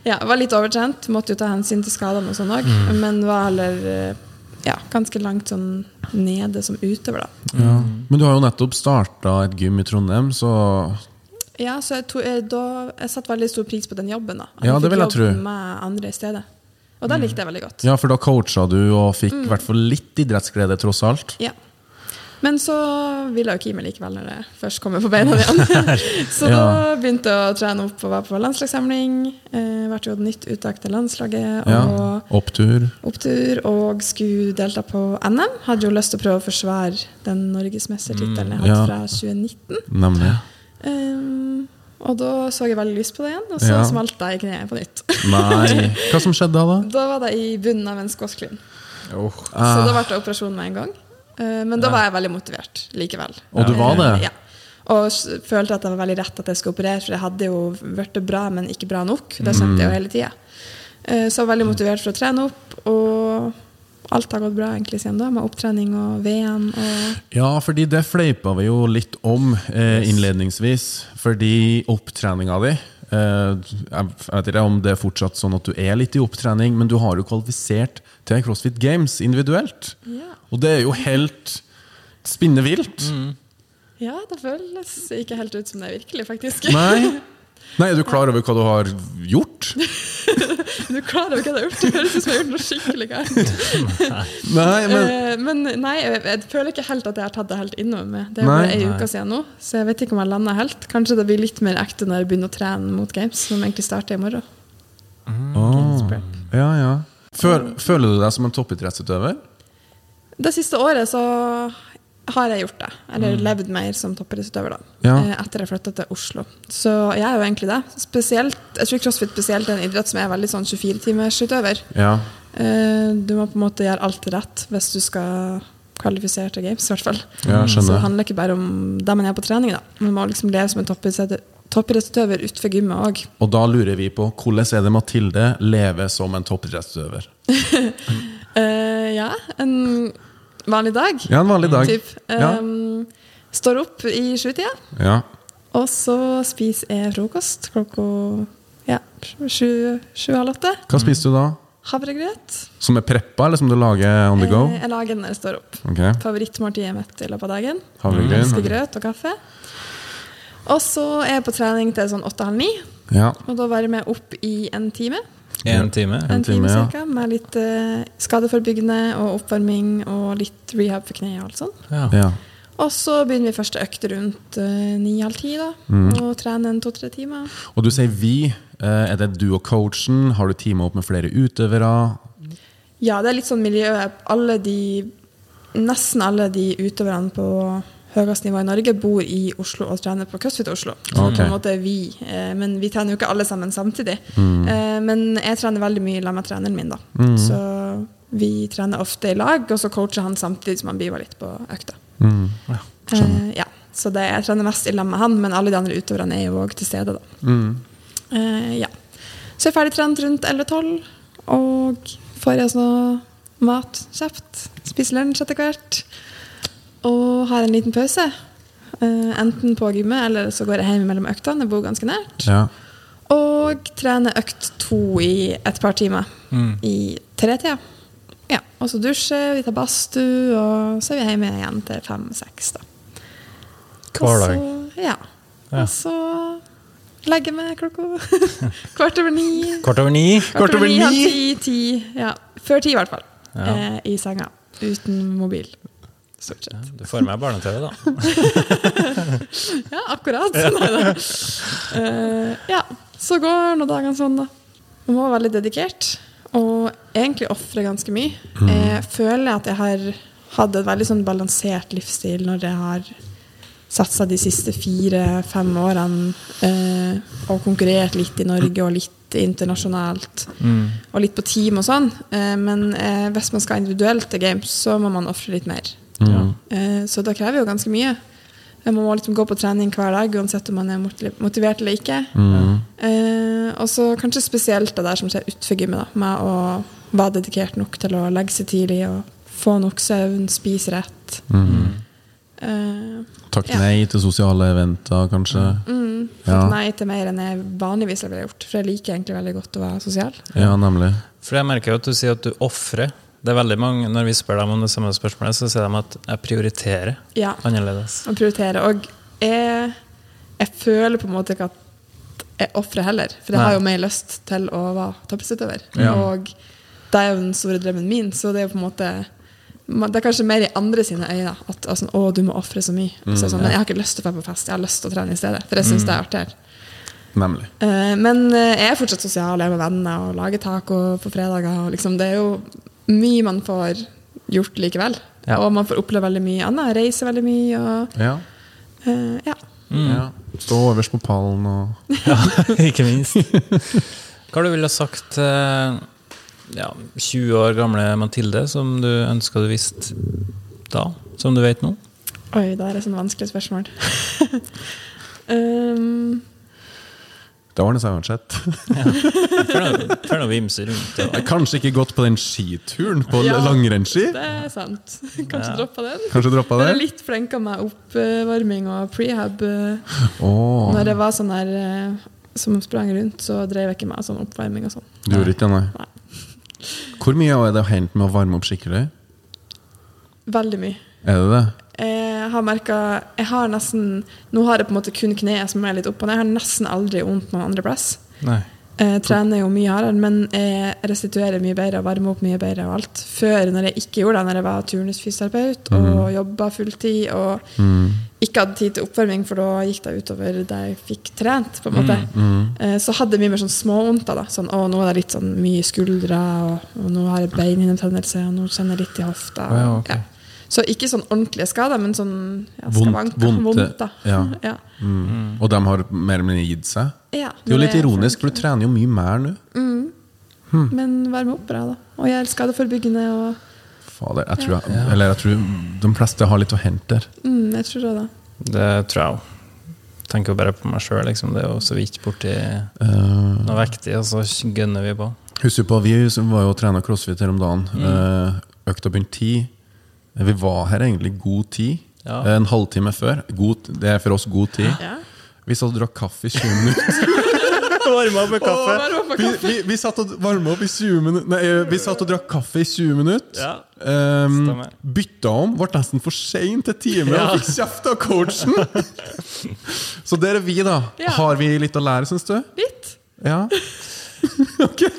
Speaker 2: Ja, jeg var litt overtrent, måtte jo ta hensyn til skadene og sånn òg.
Speaker 3: Mm.
Speaker 2: Men var heller eh, ja, ganske langt sånn nede som utøver, da.
Speaker 3: Ja. Men du har jo nettopp starta et gym i Trondheim, så
Speaker 2: Ja, så jeg, to, jeg, da, jeg satte veldig stor pris på den jobben, da. At
Speaker 3: Ja, det
Speaker 2: jeg fikk
Speaker 3: vil jeg
Speaker 2: jobb
Speaker 3: tro. Mm.
Speaker 2: Med andre i stedet. Og det likte jeg veldig godt.
Speaker 3: Ja, for da coacha du og fikk i hvert fall litt idrettsglede, tross alt.
Speaker 2: Ja. Men så ville jeg jo ikke gi meg likevel når jeg først kommer på beina igjen. så da begynte jeg å trene opp og være på landslagssamling. Eh, vært jo et nytt uttak til landslaget
Speaker 3: Ja.
Speaker 2: og
Speaker 3: Opptur.
Speaker 2: opptur. Og skulle delta på NM. Hadde jo lyst til å prøve å forsvare den norgesmestertittelen jeg hadde
Speaker 3: Mm, ja.
Speaker 2: fra 2019.
Speaker 3: Nemlig.
Speaker 2: Ehm, og da så jeg veldig lyst på det igjen, og så
Speaker 3: Ja.
Speaker 2: smalt jeg i kneet på nytt.
Speaker 3: Nei. Hva som skjedde da? da?
Speaker 2: da var det i bunnen av en skåsklin. Så
Speaker 3: Eh,
Speaker 2: da ble det operasjon med en gang. Eh, Men da var jeg veldig motivert likevel.
Speaker 3: Og du var det?
Speaker 2: Eh, Ja. Og s- følte at det var veldig rett at jeg skulle operere, for jeg hadde jo vært bra, men ikke bra nok. Det
Speaker 3: Mm.
Speaker 2: kjente jeg jo hele tida. Så jeg var veldig motivert for å trene opp, og alt har gått bra egentlig siden da, med opptrening og VM og
Speaker 3: ja, fordi det fleipa vi jo litt om eh, innledningsvis. Fordi opptreninga di eh, Jeg vet ikke om det er fortsatt sånn at du er litt i opptrening, men du har jo kvalifisert til CrossFit Games individuelt.
Speaker 2: Ja.
Speaker 3: Og det er jo helt spinnevilt.
Speaker 2: Ja, det føles ikke helt ut som det er virkelig, faktisk.
Speaker 3: Nei. Nei, er du klar over hva du har gjort?
Speaker 2: Du klarer jo ikke hva jeg har gjort. Det høres ut som jeg har gjort noe skikkelig gærent.
Speaker 3: Nei, men
Speaker 2: Eh, Men nei, jeg, jeg føler ikke helt at jeg har tatt det helt innover meg. Det er
Speaker 3: Nei.
Speaker 2: bare ei uke siden nå, så jeg vet ikke om jeg lander helt. Kanskje det blir litt mer ekte når jeg begynner å trene mot games, som egentlig starter i morgen.
Speaker 3: Åh, Ja, ja. Føl, føler du deg som en toppidrettsutøver?
Speaker 2: Det siste året så har jeg gjort det, eller levd mer som toppidrettsutøver, da.
Speaker 3: Mm. Ja.
Speaker 2: eh, Etter jeg flytta til Oslo. Så jeg er jo egentlig det. Spesielt, jeg tror crossfit spesielt er en idrett som er veldig sånn 24-timersutøver.
Speaker 3: Ja.
Speaker 2: Eh, Du må på en måte gjøre alt rett hvis du skal kvalifisere til games, i hvert fall.
Speaker 3: Ja,
Speaker 2: Så det
Speaker 3: skjønner.
Speaker 2: handler ikke bare om det man gjør på trening, da. Man må liksom leve som en toppidrettsutøver toppidrettsutøver utenfor gymmet òg.
Speaker 3: Og da lurer vi på hvordan er det Mathilde lever som en toppidrettsutøver?
Speaker 2: Eh, ja, en vanlig dag.
Speaker 3: Ja, en vanlig dag.
Speaker 2: Typ.
Speaker 3: Ja.
Speaker 2: Ehm, står opp i sjutida,
Speaker 3: Ja.
Speaker 2: og så spiser jeg frokost klokka ja, sju- sju-halv åtte.
Speaker 3: Hva spiser du da?
Speaker 2: Havregrøt.
Speaker 3: Som er preppa, eller som du lager on the go?
Speaker 2: Eh, jeg lager den når jeg står opp.
Speaker 3: Ok,
Speaker 2: Favorittmåltidet mitt i løpet av dagen.
Speaker 3: Havregryn.
Speaker 2: Fiskegrøt og kaffe. Og så er jeg på trening til sånn åtte halv ni,
Speaker 3: Ja.
Speaker 2: og da var jeg med opp i en time.
Speaker 4: Én time.
Speaker 2: En,
Speaker 3: time,
Speaker 2: time,
Speaker 3: ja.
Speaker 2: cirka, med litt eh, skadeforebyggende og oppvarming og litt rehab for kneet og alt sånt.
Speaker 4: Ja.
Speaker 3: ja.
Speaker 2: Og så begynner vi første økt rundt eh, ni-halv ti, da.
Speaker 3: Mm.
Speaker 2: Og trener en to-tre timer.
Speaker 3: Og du sier vi. Eh, Er det du og coachen? Har du teamet opp med flere utøvere?
Speaker 2: Ja, det er litt sånn miljøet alle de, Nesten alle de utøverne på høyest nivå i Norge bor i Oslo og trener på CrossFit Oslo. Så
Speaker 3: Ok.
Speaker 2: på en måte er vi. eh, Men vi trener jo ikke alle sammen samtidig. Eh, Men jeg trener veldig mye sammen med treneren min, da. Så vi trener ofte i lag, og så coacher han samtidig som han biver litt på økta.
Speaker 3: Mm.
Speaker 2: Eh, ja. Så det, jeg trener mest i lag med han, men alle de andre utøverne er jo òg til stede, da. Eh, ja. Så jeg er ferdig trent rundt 11-12, og får jeg altså mat kjapt. Spiser lunsj etter hvert. Og har en liten pause. eh, enten på gymmet, eller så går jeg hjem mellom øktene. Jeg bor ganske nært.
Speaker 3: Ja.
Speaker 2: Og trener økt to i et par timer.
Speaker 4: Mm.
Speaker 2: I tretida. Ja, og så dusjer, vi tar badstue, og så er vi hjemme igjen til fem-seks. da.
Speaker 4: Hver dag.
Speaker 2: Og så- Ja.
Speaker 4: Ja.
Speaker 2: Og så legger jeg meg klokka kvart over ni.
Speaker 4: Kvart over ni.
Speaker 2: Kvart over ni, halv ti, ti. Ja. Før ti, i hvert fall. Eh, I senga. Uten mobil. Stort sett.
Speaker 4: Du får med barne-TV, da.
Speaker 2: Ja, akkurat. Neida. Eh, ja, så går nå dagene sånn, da. Man må være veldig dedikert, og egentlig ofre ganske mye. Jeg føler at jeg har hatt en veldig sånn balansert livsstil når jeg har satsa de siste fire-fem årene eh, og konkurrert litt i Norge og litt internasjonalt. Og litt på team og sånn. Eh, men eh, hvis man skal individuelt til games, så må man ofre litt mer.
Speaker 3: Mm.
Speaker 2: Eh, så da krever jo ganske mye. Man må liksom gå på trening hver dag, uansett om man er mot- motivert eller ikke.
Speaker 3: Mm.
Speaker 2: Eh, og så kanskje spesielt det der som skjer utenfor gymmet, da, med å være dedikert nok til å legge seg tidlig og få nok søvn, spise rett. Eh,
Speaker 3: Takk
Speaker 2: Ja. Mm.
Speaker 3: nei til sosiale eventer, kanskje.
Speaker 2: Takk
Speaker 3: Ja.
Speaker 2: nei til mer enn jeg vanligvis ville gjort, for jeg liker egentlig veldig godt å være sosial.
Speaker 3: ja, nemlig.
Speaker 4: For jeg merker jo at du sier at du ofrer. Det er veldig mange, Når vi spør dem om det samme spørsmålet, så sier de at 'jeg prioriterer
Speaker 2: Ja.
Speaker 4: annerledes'.
Speaker 2: å prioritere. Og jeg, jeg føler på en måte ikke at jeg ofrer heller, for jeg
Speaker 4: Nei.
Speaker 2: har jo mer lyst til å være toppidrettsutøver.
Speaker 3: Ja.
Speaker 2: Og det er jo den store drømmen min, så det er jo på en måte man- det er kanskje mer i andre sine øyne at altså, å, du må ofre så mye.
Speaker 4: Mm,
Speaker 2: Så jeg er sånn, men jeg har ikke lyst til å være på fest, jeg har lyst til å trene i stedet. For jeg syns det er artigere.
Speaker 3: Nemlig.
Speaker 2: Eh, Men eh, jeg er fortsatt sosial, jeg er med venner og lager taco på fredager. Og liksom, det er jo mye man får gjort likevel.
Speaker 4: Ja.
Speaker 2: Og man får oppleve veldig mye annet. Reise veldig mye. Og,
Speaker 3: Ja.
Speaker 2: eh, ja.
Speaker 3: ja. Stå øverst på pallen og
Speaker 4: Ikke minst. Hva du ville sagt til ja, 20 år gamle Mathilde, som du ønska du visste da, som du vet nå?
Speaker 2: Oi, det er et sånt vanskelig spørsmål. um,
Speaker 3: Det ordner seg uansett.
Speaker 4: For noe, for noe vimser rundt. Og.
Speaker 3: Kanskje ikke gått på den skituren på
Speaker 2: Ja.
Speaker 3: langrennsski?
Speaker 2: det er sant. Kanskje
Speaker 4: Ja.
Speaker 2: droppa den.
Speaker 3: Kanskje droppa
Speaker 2: Jeg
Speaker 3: det?
Speaker 2: er litt flinka med oppvarming og prehab. eh,
Speaker 3: Åh,
Speaker 2: Når det var sånn der eh, som sprang rundt, så drev jeg ikke med sånn oppvarming og sånn.
Speaker 3: du gjorde ikke det,
Speaker 2: Nei.
Speaker 3: nei? Hvor mye er det å hente med å varme opp skikkelig?
Speaker 2: Veldig mye.
Speaker 3: Er det det?
Speaker 2: Jeg har merket, jeg har nesten Nå har jeg på en måte kun kneet som er litt opp og ned. Jeg har nesten aldri vondt noen andre plass.
Speaker 4: Nei.
Speaker 2: Jeg trener jo mye hardere, men jeg restituerer mye bedre og varmer opp mye bedre. og alt. Før, når jeg ikke gjorde det, når jeg var turnusfysioterapeut og
Speaker 3: Mhm.
Speaker 2: jobba fulltid og ikke hadde tid til oppvarming, for da gikk det utover det jeg fikk trent, på en måte,
Speaker 3: Mhm,
Speaker 2: Eh, så hadde jeg mye mer sånn småvondter. da. Sånn, å, nå er det litt sånn mye skuldre, og, og nå har jeg beinhinnebetennelse, og nå kjenner jeg litt i hofta.
Speaker 3: Å ja, ok.
Speaker 2: Ja. Så ikke sånn ordentlige skader, men sånn ja,
Speaker 3: Vondt-
Speaker 2: skavanker,
Speaker 3: vondt,
Speaker 2: vondt, da.
Speaker 3: ja.
Speaker 2: ja.
Speaker 3: Mm. Og de har mer eller mindre gitt seg?
Speaker 2: Ja,
Speaker 3: Det er jo
Speaker 2: når
Speaker 3: litt
Speaker 2: jeg-
Speaker 3: ironisk, for du trener jo mye mer nå.
Speaker 2: Mm. Men varme opp bra, da. Og jeg er skadeforebyggende. og...
Speaker 3: Fader, jeg tror, jeg, eller jeg tror de fleste har litt å hente der.
Speaker 2: Mm, jeg tror det. da.
Speaker 4: Det tror jeg òg. Tenker jo bare på meg sjøl, liksom. Det er jo så vidt borti
Speaker 3: Eh,
Speaker 4: noe vektig, og så gønner vi på.
Speaker 3: Husker du på, vi som var jo og trena crossfit her om dagen. eh, Økta begynte ti. Vi var her egentlig god tid.
Speaker 4: Ja.
Speaker 3: Eh, En halvtime før. God, det er for oss god tid. Vi satt og drakk kaffe i 20 minutter.
Speaker 4: varma opp med kaffe.
Speaker 2: Å, varme opp med
Speaker 3: Vi,
Speaker 2: kaffe.
Speaker 3: vi, vi satt og varma opp i 20 minutter Nei, eh, vi satt og drakk kaffe i 20 minutter.
Speaker 4: Ja,
Speaker 3: Ehm,
Speaker 4: stemmer.
Speaker 3: bytta om, ble nesten for sein til timen
Speaker 4: Ja.
Speaker 3: og fikk kjeft av coachen! Så der er vi, da.
Speaker 2: Ja.
Speaker 3: Har vi litt å lære, syns du?
Speaker 2: Litt.
Speaker 3: Ja.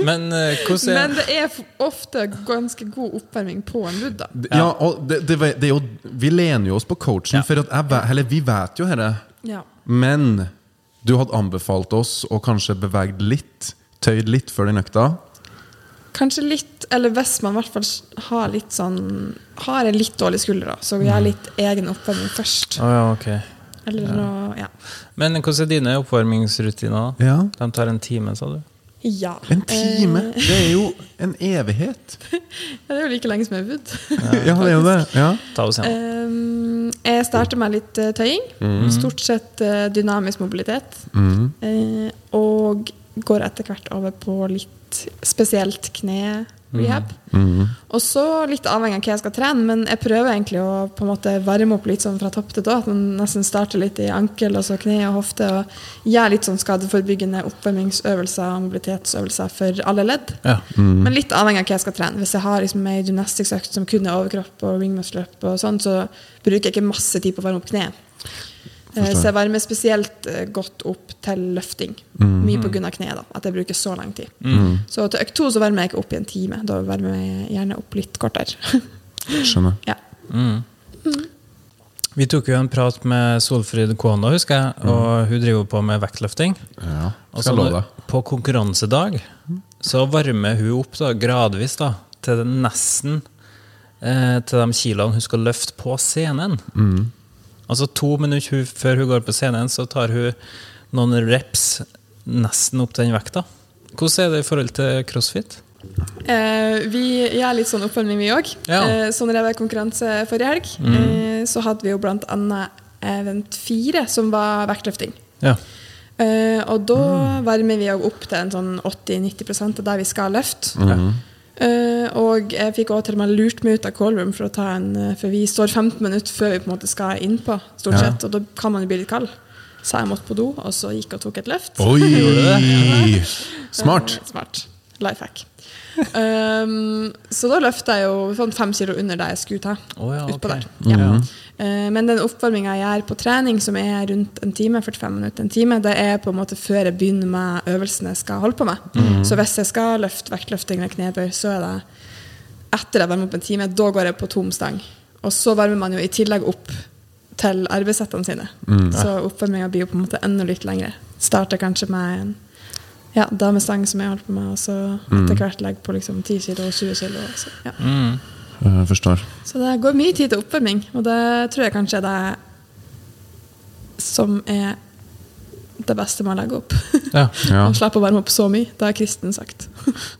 Speaker 4: Men eh, hvordan er
Speaker 2: Men det er f- ofte ganske god oppvarming på en Buddha.
Speaker 3: ja, og det, det, det er jo, vi lener jo oss på coachen,
Speaker 4: Ja.
Speaker 3: for at jeg, ve- eller vi vet jo dette.
Speaker 2: Ja.
Speaker 3: Men du hadde anbefalt oss å kanskje bevege litt, tøyd litt før den økta.
Speaker 2: Kanskje litt, eller hvis man i hvert fall har litt sånn Har en litt dårlig skulder, da, så gjør litt egen oppvarming først.
Speaker 4: Å ja, ok.
Speaker 2: Eller noe Ja.
Speaker 4: Men hvordan er dine oppvarmingsrutiner? da?
Speaker 3: Ja.
Speaker 4: De tar en time, sa du?
Speaker 2: ja.
Speaker 3: En time!
Speaker 2: Eh,
Speaker 3: Det er jo en evighet.
Speaker 2: ja, det er jo like lenge som jeg har bodd.
Speaker 3: Ja, det er jo det. Ja.
Speaker 4: Ta oss
Speaker 3: Eh.
Speaker 4: igjen.
Speaker 2: Um, jeg starter med litt eh, tøying. Stort sett eh, dynamisk mobilitet. Eh, og går etter hvert over på litt spesielt kne-rehab. Og så litt avhengig av hva jeg skal trene, men jeg prøver egentlig å på en måte varme opp litt sånn fra topp til tå. At man nesten starter litt i ankel og så kne og hofte. Og gjør litt sånn skadeforebyggende oppvarmingsøvelser og mobilitetsøvelser for alle ledd.
Speaker 4: Ja.
Speaker 2: Men litt avhengig av hva jeg skal trene. Hvis jeg har liksom ei gymnasticsøkt som kun er overkropp og ringmuskeløp, og sånn, så bruker jeg ikke masse tid på å varme opp kneet. Eh,
Speaker 3: Forstår.
Speaker 2: Så jeg varmer spesielt eh, godt opp til løfting. Mye på grunn av kneet, da. At jeg bruker så lang tid. Så til økt to så varmer jeg ikke opp i en time. Da varmer jeg gjerne opp litt kortere.
Speaker 3: Skjønner.
Speaker 2: ja.
Speaker 4: Vi tok jo en prat med Solfrid Kåna, husker
Speaker 3: Mm.
Speaker 4: jeg, og hun driver jo på med vektløfting.
Speaker 3: Ja. Skal
Speaker 4: Og så
Speaker 3: jeg love
Speaker 4: når-
Speaker 3: deg.
Speaker 4: på konkurransedag så varmer hun opp da, gradvis da, til det nesten eh, til de kiloene hun skal løfte på scenen.
Speaker 3: Mm.
Speaker 4: Altså to minutter hun- før hun går på scenen, så tar hun noen reps nesten opp den vekta. Hvordan er det i forhold til crossfit?
Speaker 2: Eh, vi gjør litt sånn oppvarming, vi òg.
Speaker 4: Ja.
Speaker 2: Eh, så når jeg var i konkurranse forrige helg, eh, så hadde vi jo blant annet Event 4, som var vektløfting.
Speaker 4: Ja.
Speaker 2: Eh, og da
Speaker 3: Ah.
Speaker 2: varmer vi også opp til en sånn 80-90 av det vi skal løfte.
Speaker 3: Mm-hmm.
Speaker 2: Eh, og jeg fikk også til og med lurt meg ut av callroom, for, å ta en, eh, for vi står 15 minutter før vi på en måte skal innpå, stort
Speaker 3: Ja.
Speaker 2: sett, og da kan man jo bli litt kald. Så jeg måtte på do, og så gikk og tok et løft.
Speaker 3: Oi! Smart.
Speaker 2: Eh, Smart. Life hack. Ehm, så da løfta jeg jo sånn fem kilo under det jeg skulle ta.
Speaker 4: Å ja,
Speaker 2: utpå
Speaker 4: ok. Mm.
Speaker 2: der. Ja. Eh, men den oppvarminga jeg gjør på trening, som er rundt en time, 45 minutter, en time, det er på en måte før jeg begynner med øvelsen jeg skal holde på med.
Speaker 4: Mm.
Speaker 2: Så hvis jeg skal løfte vektløfting eller knebøy, så er det etter jeg varmer opp en time, da går jeg på tom stang. Og så varmer man jo i tillegg opp til arbeidssettene sine.
Speaker 4: Mm.
Speaker 2: Så oppvarminga blir jo på en måte enda litt lengre. Starter kanskje med en ja, damestang som jeg holdt på med, og så
Speaker 4: Mm.
Speaker 2: etter hvert legge på liksom 10 kilo og 20 kilo. og Så, ja.
Speaker 3: Jeg forstår.
Speaker 2: så det går mye tid til oppvarming, og det tror jeg kanskje er det som er det beste med å legge opp.
Speaker 4: Ja.
Speaker 3: Ja.
Speaker 2: Man slipper å varme opp så mye, det har Kristen sagt.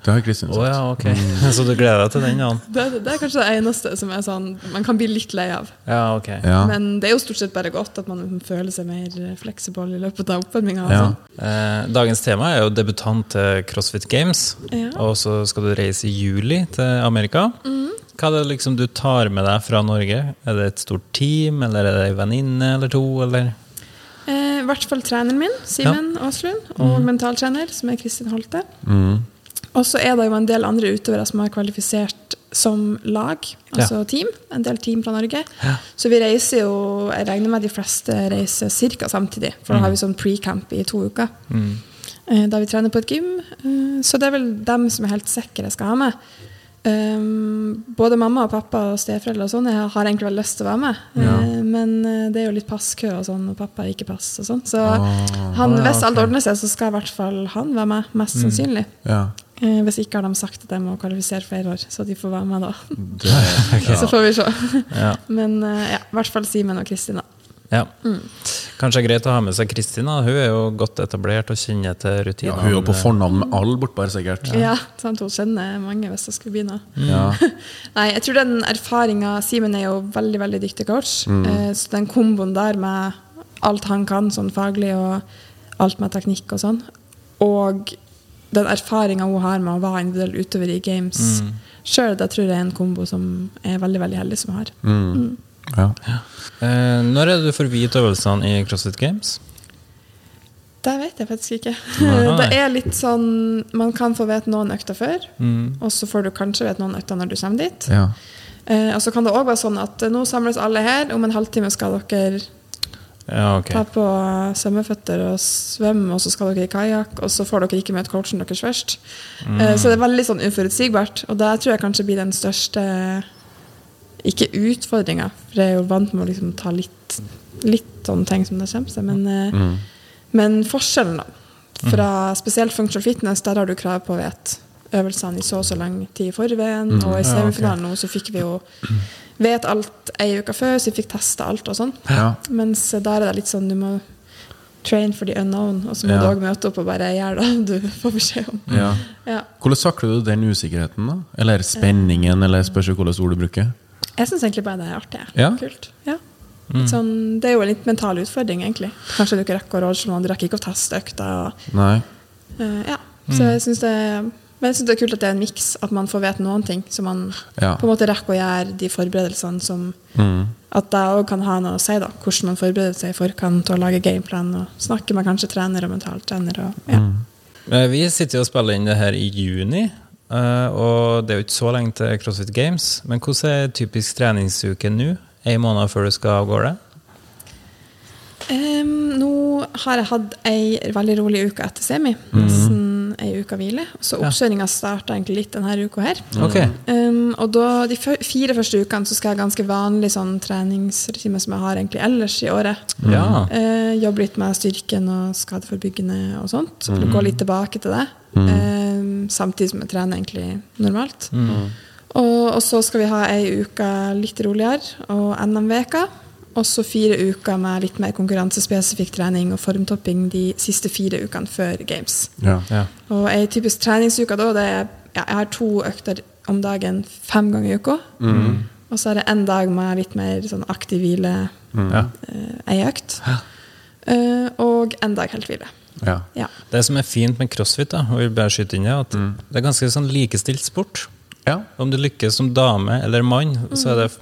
Speaker 3: Det har Kristin
Speaker 4: Å
Speaker 3: sagt.
Speaker 4: ja, ok.
Speaker 3: Mm-hmm.
Speaker 4: Så du gleder deg til den, Jan?
Speaker 2: Det, det er kanskje det eneste som er sånn, man kan bli litt lei av.
Speaker 4: Ja, ok.
Speaker 3: Ja.
Speaker 2: Men det er jo stort sett bare godt at man føler seg mer fleksibel i løpet av altså. oppvarminga.
Speaker 3: Ja.
Speaker 4: Eh, Dagens tema er jo debutant til CrossFit Games.
Speaker 2: Ja.
Speaker 4: Og så skal du reise i juli til Amerika. Hva er det liksom du tar med deg fra Norge? Er det et stort team, eller er det ei venninne eller to? Eller?
Speaker 2: Eh, I hvert fall treneren min, Simen Aaslund, og mentaltrener, som er Kristin Holte. Og så er det jo en del andre utøvere som har kvalifisert som lag, altså team. En del team fra Norge. Så vi reiser jo Jeg regner med de fleste reiser ca. samtidig, for da har vi sånn pre-camp i to uker. Eh, Da vi trener på et gym. Eh, Så det er vel dem som er helt sikre jeg skal ha med. Um, både mamma og pappa og steforeldre og sånn jeg har egentlig veldig lyst til å være med. Eh, men eh, det er jo litt passkø og sånn, og pappa har ikke pass og sånn. Så han,
Speaker 4: Ah, ja,
Speaker 2: hvis alt
Speaker 4: ok. Mm.
Speaker 2: ordner seg, så skal i hvert fall han være med, mest sannsynlig.
Speaker 3: Ja.
Speaker 2: Eh, hvis ikke har de sagt at de må kvalifisere flere år, så de får være med da.
Speaker 4: Ok.
Speaker 2: Så får vi se.
Speaker 4: Ja.
Speaker 2: Men eh, ja, i hvert fall Simen og Kristin, da.
Speaker 4: Ja. Kanskje det er greit å ha med seg Kristin. da. Hun er jo godt etablert og kjenner til
Speaker 3: Ja,
Speaker 4: rutinene.
Speaker 3: hun er jo på fornavn med alle bortbær, sikkert.
Speaker 2: Ja, sant, hun kjenner mange hvis hun skulle begynne.
Speaker 3: Ja.
Speaker 2: Nei, jeg tror den erfaringa Simen er jo veldig veldig dyktig coach. Eh, Så den komboen der med alt han kan sånn faglig, og alt med teknikk og sånn, og den erfaringa hun har med å være individuell utøver i games sjøl, det tror jeg er en kombo som jeg er veldig veldig heldig som har.
Speaker 3: Mm. Ja.
Speaker 2: Mm.
Speaker 4: Eh, Når er det du får vite øvelsene i CrossFit Games?
Speaker 2: Det vet jeg faktisk ikke.
Speaker 4: Nei.
Speaker 2: Det er litt sånn Man kan få vite noen økter før, og så får du kanskje vite noen økter når du kommer dit.
Speaker 3: Ja.
Speaker 2: Eh, og så kan det òg være sånn at eh, nå samles alle her, om en halvtime skal dere
Speaker 4: Ja, ok.
Speaker 2: ta på svømmeføtter og svømme, og så skal dere i kajakk, og så får dere ikke møte coachen deres først. Eh, Så det er veldig sånn uforutsigbart, og det tror jeg kanskje blir den største ikke utfordringa, for jeg er jo vant med å liksom ta litt, litt sånne ting som det kommer seg, men, eh, men forskjellen, da. Fra spesielt functional fitness, der har du krav på å vite øvelsene i så og så lang tid i forveien, og i semifinalen nå så fikk vi jo vet alt ei uke før, så vi fikk testa alt og sånn.
Speaker 3: Ja.
Speaker 2: Mens der er det litt sånn du må train for the unknown, og så må
Speaker 3: Ja.
Speaker 2: du òg møte opp og bare gjøre det du får beskjed om.
Speaker 3: ja.
Speaker 2: Ja.
Speaker 3: Hvordan takler du den usikkerheten, da? Eller spenningen, eller spørs jo hvilket ord du bruker.
Speaker 2: Jeg syns egentlig bare det er artig. jeg.
Speaker 3: Ja. Mm.
Speaker 2: Kult. Ja. Litt Sånn, det er jo en litt mental utfordring, egentlig. Kanskje du ikke rekker å rådslå noen, du rekker ikke å teste økta. Og,
Speaker 3: Nei.
Speaker 2: eh, ja. Så
Speaker 3: Mm.
Speaker 2: jeg syns det, men jeg synes det er kult at det er en miks, at man får vite noen ting. Så man
Speaker 3: Ja. Mm.
Speaker 2: på en måte rekker å gjøre de forberedelsene som At det òg kan ha noe å si, da. Hvordan man forbereder seg i forkant og lager gameplan. Og snakker med kanskje trener og mentaltrener. Og, ja.
Speaker 4: Eh, Vi sitter jo og spiller inn det her i juni, eh, og det er jo ikke så lenge til CrossFit Games. Men hvordan er typisk treningsuke nå, en måned før du skal av gårde?
Speaker 2: Em, Ehm, nå har jeg hatt ei veldig rolig uke etter semi. Nesten ei uke hvile. Så oppkjøringa starta egentlig litt denne uka her.
Speaker 4: Ok.
Speaker 2: Em, og da, de fø- fire første ukene så skal jeg ha ganske vanlig sånn treningsregime som jeg har egentlig ellers i året.
Speaker 4: Ja.
Speaker 2: Eh, jobbe litt med styrken og skadeforebyggende og sånt. Mm. Gå litt tilbake til det. Em, samtidig som jeg trener egentlig normalt. Og, og så skal vi ha ei uke litt roligere og NM-veka. Og så fire uker med litt mer konkurransespesifikk trening og formtopping de siste fire ukene før games.
Speaker 3: Ja.
Speaker 4: Ja.
Speaker 2: Og ei typisk treningsuke da, det er ja, Jeg har to økter om dagen fem ganger i uka. Og så er det en dag med litt mer sånn aktiv hvile,
Speaker 4: Ja.
Speaker 2: eh, ei økt. Eh, og en dag helt hvile.
Speaker 3: Ja.
Speaker 2: Ja.
Speaker 4: Det som er fint med crossfit, da, og vi bare skyter inn det, at det er ganske sånn likestilt sport.
Speaker 3: ja.
Speaker 4: Om du lykkes som dame eller mann, så er det f-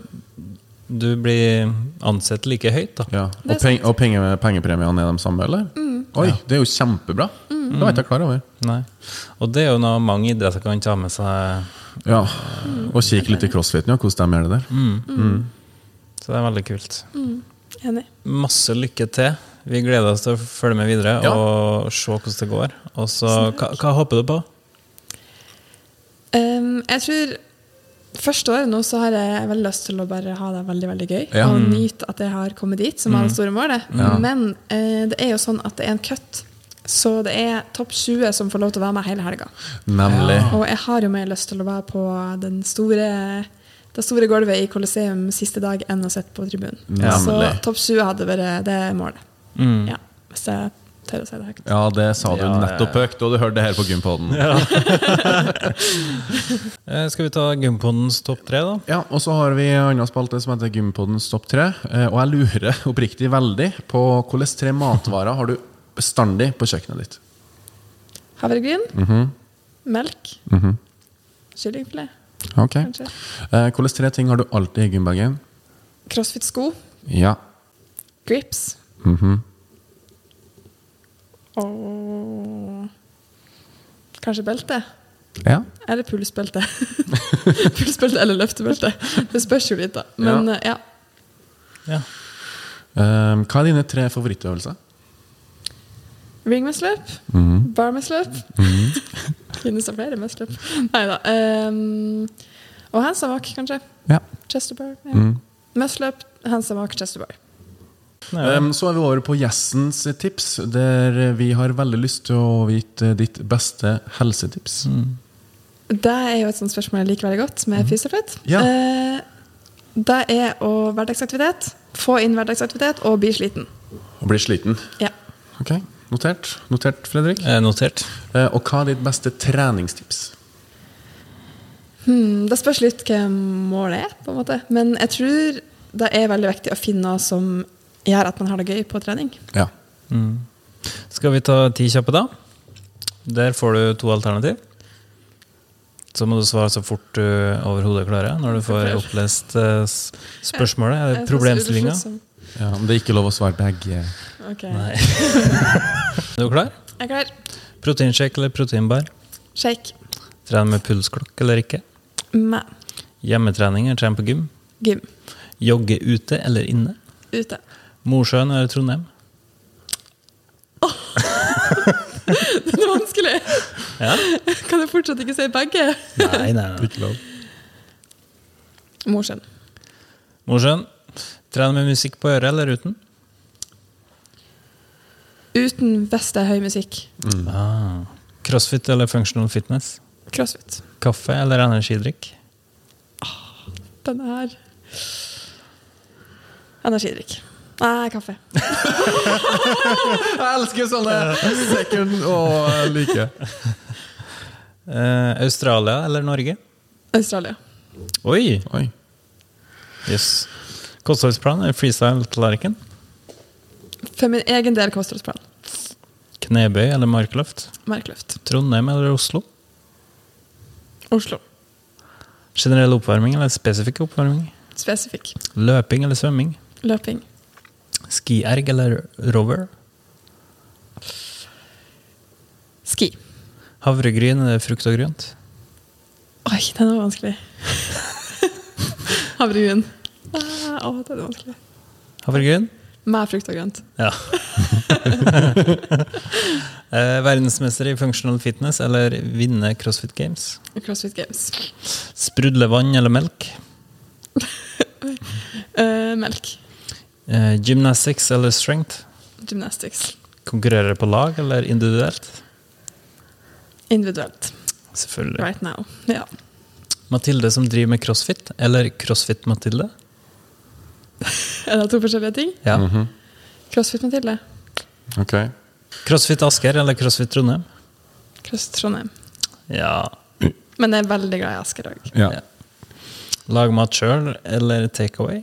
Speaker 4: Du blir ansett like høyt, da.
Speaker 3: ja. Og,
Speaker 2: Det er Mm.
Speaker 3: peng og penge pengepremiene er de samme, eller? Oi, det er jo kjempebra! Det var ikke jeg klar over.
Speaker 4: Nei. Og det er jo noe mange idretter kan ta med seg.
Speaker 3: Ja, Og kikke litt i crossfiten, ja, hvordan de gjør det der.
Speaker 4: Så det er veldig kult.
Speaker 2: Enig.
Speaker 4: Masse lykke til. Vi gleder oss til å følge med videre
Speaker 3: Ja.
Speaker 4: og se hvordan det går. Og så, hva, hva håper du på?
Speaker 2: Em, jeg tror Første året nå så har jeg veldig lyst til å bare ha det veldig veldig gøy
Speaker 3: Ja.
Speaker 2: og nyte at jeg har kommet dit, som er det store målet. Men eh, det er jo sånn at det er en cut, så det er topp 20 som får lov til å være med hele helga.
Speaker 3: Nemlig.
Speaker 2: Og jeg har jo mer lyst til å være på den store, det store gulvet i Colosseum siste dag enn å sitte på tribunen.
Speaker 3: Nemlig. Mm.
Speaker 2: Så topp 20 hadde vært det målet. Ja, hvis jeg tør å si det høyt.
Speaker 3: Ja, det sa du
Speaker 4: Ja, det-
Speaker 3: nettopp høyt, og du hørte det her på Gympodden.
Speaker 4: Eh, skal vi ta Gympondens topp tre, da?
Speaker 3: Ja, og så har vi en annen spalte som heter Gympoddens topp tre. eh, Og jeg lurer oppriktig veldig på hvilke tre matvarer har du bestandig på kjøkkenet ditt?
Speaker 2: Havregryn.
Speaker 3: Mhm.
Speaker 2: Melk. Kyllingfilet,
Speaker 3: Ok.
Speaker 2: kanskje.
Speaker 3: Eh, Hvilke tre ting har du alltid i gymbagen?
Speaker 2: Crossfit-sko.
Speaker 3: Ja.
Speaker 2: Grips.
Speaker 3: Mhm.
Speaker 2: Og kanskje belte.
Speaker 3: Ja.
Speaker 2: Eller pulsbelte. pulsbelte eller løftebelte. Det spørs jo litt, da. Men
Speaker 3: Ja.
Speaker 2: eh, ja.
Speaker 4: Ja.
Speaker 3: Eh, Hva er dine tre favorittøvelser?
Speaker 2: Ring med sløp, bar med sløp. Finnes det flere med sløp? Nei da. Um, og hands and walk, kanskje.
Speaker 3: Ja.
Speaker 2: Chester bar. Ja. Med sløp, hands and walk, chester bar.
Speaker 4: Nei,
Speaker 3: Eh, så er vi over på gjestens tips, der vi har veldig lyst til å vite ditt beste helsetips.
Speaker 2: Det er jo et sånt spørsmål jeg liker veldig godt med fysioterapeut.
Speaker 3: Ja.
Speaker 2: Eh, det er å hverdagsaktivitet. Få inn hverdagsaktivitet og bli sliten.
Speaker 3: Å bli sliten.
Speaker 2: Ja.
Speaker 3: Ok, notert. Notert, Fredrik.
Speaker 4: eh, Notert.
Speaker 3: Eh, Og hva er ditt beste treningstips?
Speaker 2: Mm, Det spørs litt hva målet er, på en måte. Men jeg tror det er veldig viktig å finne noe som gjør at man har det gøy på trening.
Speaker 3: Ja.
Speaker 4: Skal vi ta ti kjappe, da? Der får du to alternativ. Så må du svare så fort du overhodet klarer når du får opplest eh, s- spørsmålet,
Speaker 2: Jeg synes
Speaker 4: eller
Speaker 2: det er
Speaker 4: Eh, problemstillinga.
Speaker 2: slitsomt.
Speaker 3: Ja, men det er ikke lov å svare begge.
Speaker 2: Ok.
Speaker 4: Nei. er du klar?
Speaker 2: Jeg er klar.
Speaker 4: Proteinshake eller proteinbar?
Speaker 2: Shake.
Speaker 4: Trene med pulsklokk eller ikke?
Speaker 2: Med
Speaker 4: Hjemmetrening eller trene på gym?
Speaker 2: gym.
Speaker 4: Jogge ute eller inne?
Speaker 2: Ute.
Speaker 4: Mosjøen eller Trondheim?
Speaker 2: Det er vanskelig.
Speaker 4: Ja.
Speaker 2: Kan jeg fortsatt ikke si begge?
Speaker 4: Nei, nei, nei.
Speaker 3: Ikke lov.
Speaker 2: Mosjøen.
Speaker 4: Mosjøen. Trene med musikk på øret eller uten?
Speaker 2: Uten hvis det er høy musikk.
Speaker 4: Ah. Crossfit eller functional fitness?
Speaker 2: Crossfit.
Speaker 4: Kaffe eller energidrikk?
Speaker 2: Den her Energidrikk. Nei, kaffe.
Speaker 3: Jeg elsker sånne second og like.
Speaker 4: Eh, Australia eller Norge?
Speaker 2: Australia.
Speaker 4: Oi!
Speaker 3: Oi.
Speaker 4: Yes. Kostholdsplan eller freestyle-tallerken?
Speaker 2: For min egen del kostholdsplan.
Speaker 4: Knebøy eller markløft?
Speaker 2: Markløft.
Speaker 4: Trondheim eller Oslo?
Speaker 2: Oslo.
Speaker 4: Generell oppvarming eller spesifikk oppvarming?
Speaker 2: Spesifikk.
Speaker 4: Løping eller svømming?
Speaker 2: Løping.
Speaker 4: Skierg eller rover?
Speaker 2: Ski.
Speaker 4: Havregryn eller frukt og grønt?
Speaker 2: Oi, den var vanskelig. Havregryn. Ah, Å, den er vanskelig.
Speaker 4: Havregryn?
Speaker 2: Med frukt og grønt.
Speaker 4: Ja. Eh, Verdensmester i functional fitness eller vinne CrossFit Games?
Speaker 2: CrossFit Games.
Speaker 4: Sprudle vann eller melk?
Speaker 2: Eh, melk.
Speaker 4: Eh, Gymnastics eller strength?
Speaker 2: Gymnastics.
Speaker 4: Konkurrere på lag eller individuelt?
Speaker 2: Individuelt.
Speaker 4: Selvfølgelig.
Speaker 2: Right now. Ja.
Speaker 4: Mathilde som driver med crossfit, eller CrossFit-Mathilde?
Speaker 2: Er det to forskjellige ting?
Speaker 4: Ja.
Speaker 2: Crossfit Mathilde.
Speaker 3: Ok.
Speaker 4: CrossFit Asker eller CrossFit Trondheim?
Speaker 2: Cross Trondheim.
Speaker 4: Ja.
Speaker 2: Men jeg er veldig glad i Asker òg.
Speaker 3: Ja.
Speaker 4: Ja. Lag mat sjøl eller takeaway?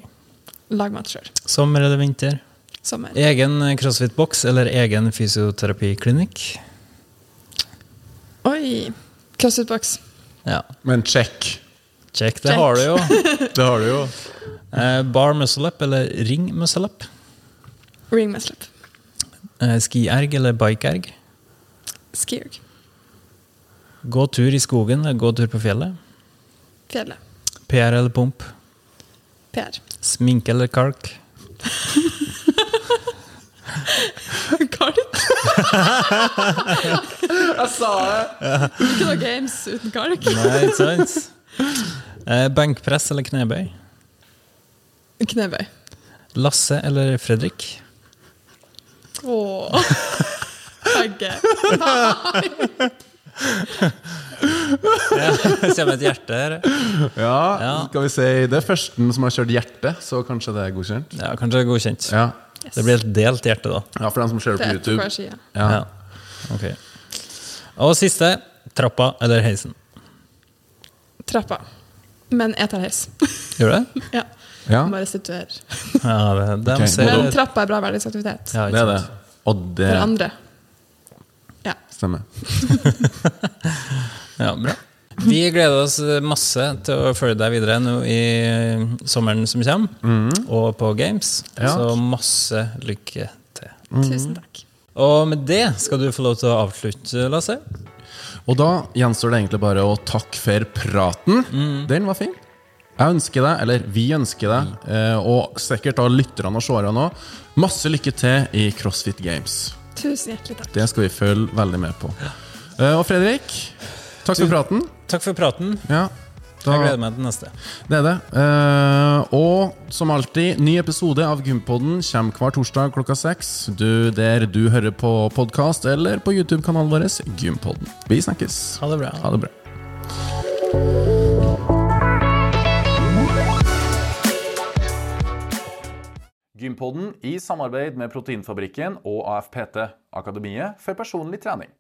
Speaker 2: Lag mat sjøl.
Speaker 4: Sommer eller vinter?
Speaker 2: Sommer.
Speaker 4: Egen CrossFit-boks eller egen fysioterapiklinikk?
Speaker 2: Oi! CrossFit Box.
Speaker 4: Ja.
Speaker 3: Men check.
Speaker 4: Check, det
Speaker 2: Check.
Speaker 4: har du jo.
Speaker 3: Det har du jo.
Speaker 4: Eh, Bar muscle up eller ring muscle up?
Speaker 2: Ring med slipp.
Speaker 4: Eh, Skierg eller bikeerg?
Speaker 2: Skierg.
Speaker 4: Gå tur i skogen eller gå tur på fjellet?
Speaker 2: Fjellet.
Speaker 4: PR eller pump?
Speaker 2: Per.
Speaker 4: Sminke eller kalk?
Speaker 2: Kalk?
Speaker 3: Jeg sa det!
Speaker 2: Ikke noe games uten kalk.
Speaker 4: Nei, ikke sant? Eh, Benkpress eller knebøy?
Speaker 2: Knebøy.
Speaker 4: Lasse eller Fredrik?
Speaker 2: Åh. Begge.
Speaker 4: Ja, det kommer et hjerte her.
Speaker 3: Ja,
Speaker 4: Ja.
Speaker 3: skal vi si det er førsten som har kjørt hjerte, så kanskje det er godkjent.
Speaker 4: Ja, kanskje det er godkjent.
Speaker 3: Ja,
Speaker 4: Det blir et delt hjerte, da.
Speaker 3: ja for dem som ser
Speaker 2: Det
Speaker 3: det på
Speaker 2: er ett på
Speaker 3: YouTube.
Speaker 2: hver side.
Speaker 3: Ja.
Speaker 4: Ja. Ok. Og siste trappa eller heisen.
Speaker 2: Trappa. Men jeg tar heis.
Speaker 4: Gjør du det?
Speaker 2: Ja.
Speaker 3: Ja,
Speaker 2: Bare situer.
Speaker 4: Ja, det, det
Speaker 3: Ok,
Speaker 4: ser,
Speaker 2: Men trappa er bra hverdagsaktivitet.
Speaker 4: ja, ikke
Speaker 3: det er det.
Speaker 4: sant.
Speaker 3: Og det
Speaker 2: For andre. Ja.
Speaker 3: stemmer.
Speaker 4: Ja, bra. Vi gleder oss masse til å følge deg videre nå i sommeren som kommer, og på Games.
Speaker 3: Mm. Ja.
Speaker 4: Så masse lykke til.
Speaker 2: Tusen takk.
Speaker 4: Og med det skal du få lov til å avslutte, Lasse.
Speaker 3: Og da gjenstår det egentlig bare å takke for praten.
Speaker 4: Mm.
Speaker 3: Den var fin. Jeg ønsker deg, eller vi ønsker deg, eh, og sikkert da lytterne og seerne òg, masse lykke til i CrossFit Games.
Speaker 2: Tusen hjertelig takk.
Speaker 3: Det skal vi følge veldig med på. Eh, Og Fredrik, takk for praten.
Speaker 4: Takk for praten.
Speaker 3: Ja, da,
Speaker 4: Jeg gleder meg til neste.
Speaker 3: det er det. Eh, og som alltid, ny episode av Gympodden kommer hver torsdag klokka seks. Du der du hører på podkast eller på YouTube-kanalen vår Gympodden. Vi snakkes.
Speaker 4: Ha det bra.
Speaker 3: Ha det bra.
Speaker 1: Gympodden i samarbeid med Proteinfabrikken og AFPT, Akademiet for personlig trening.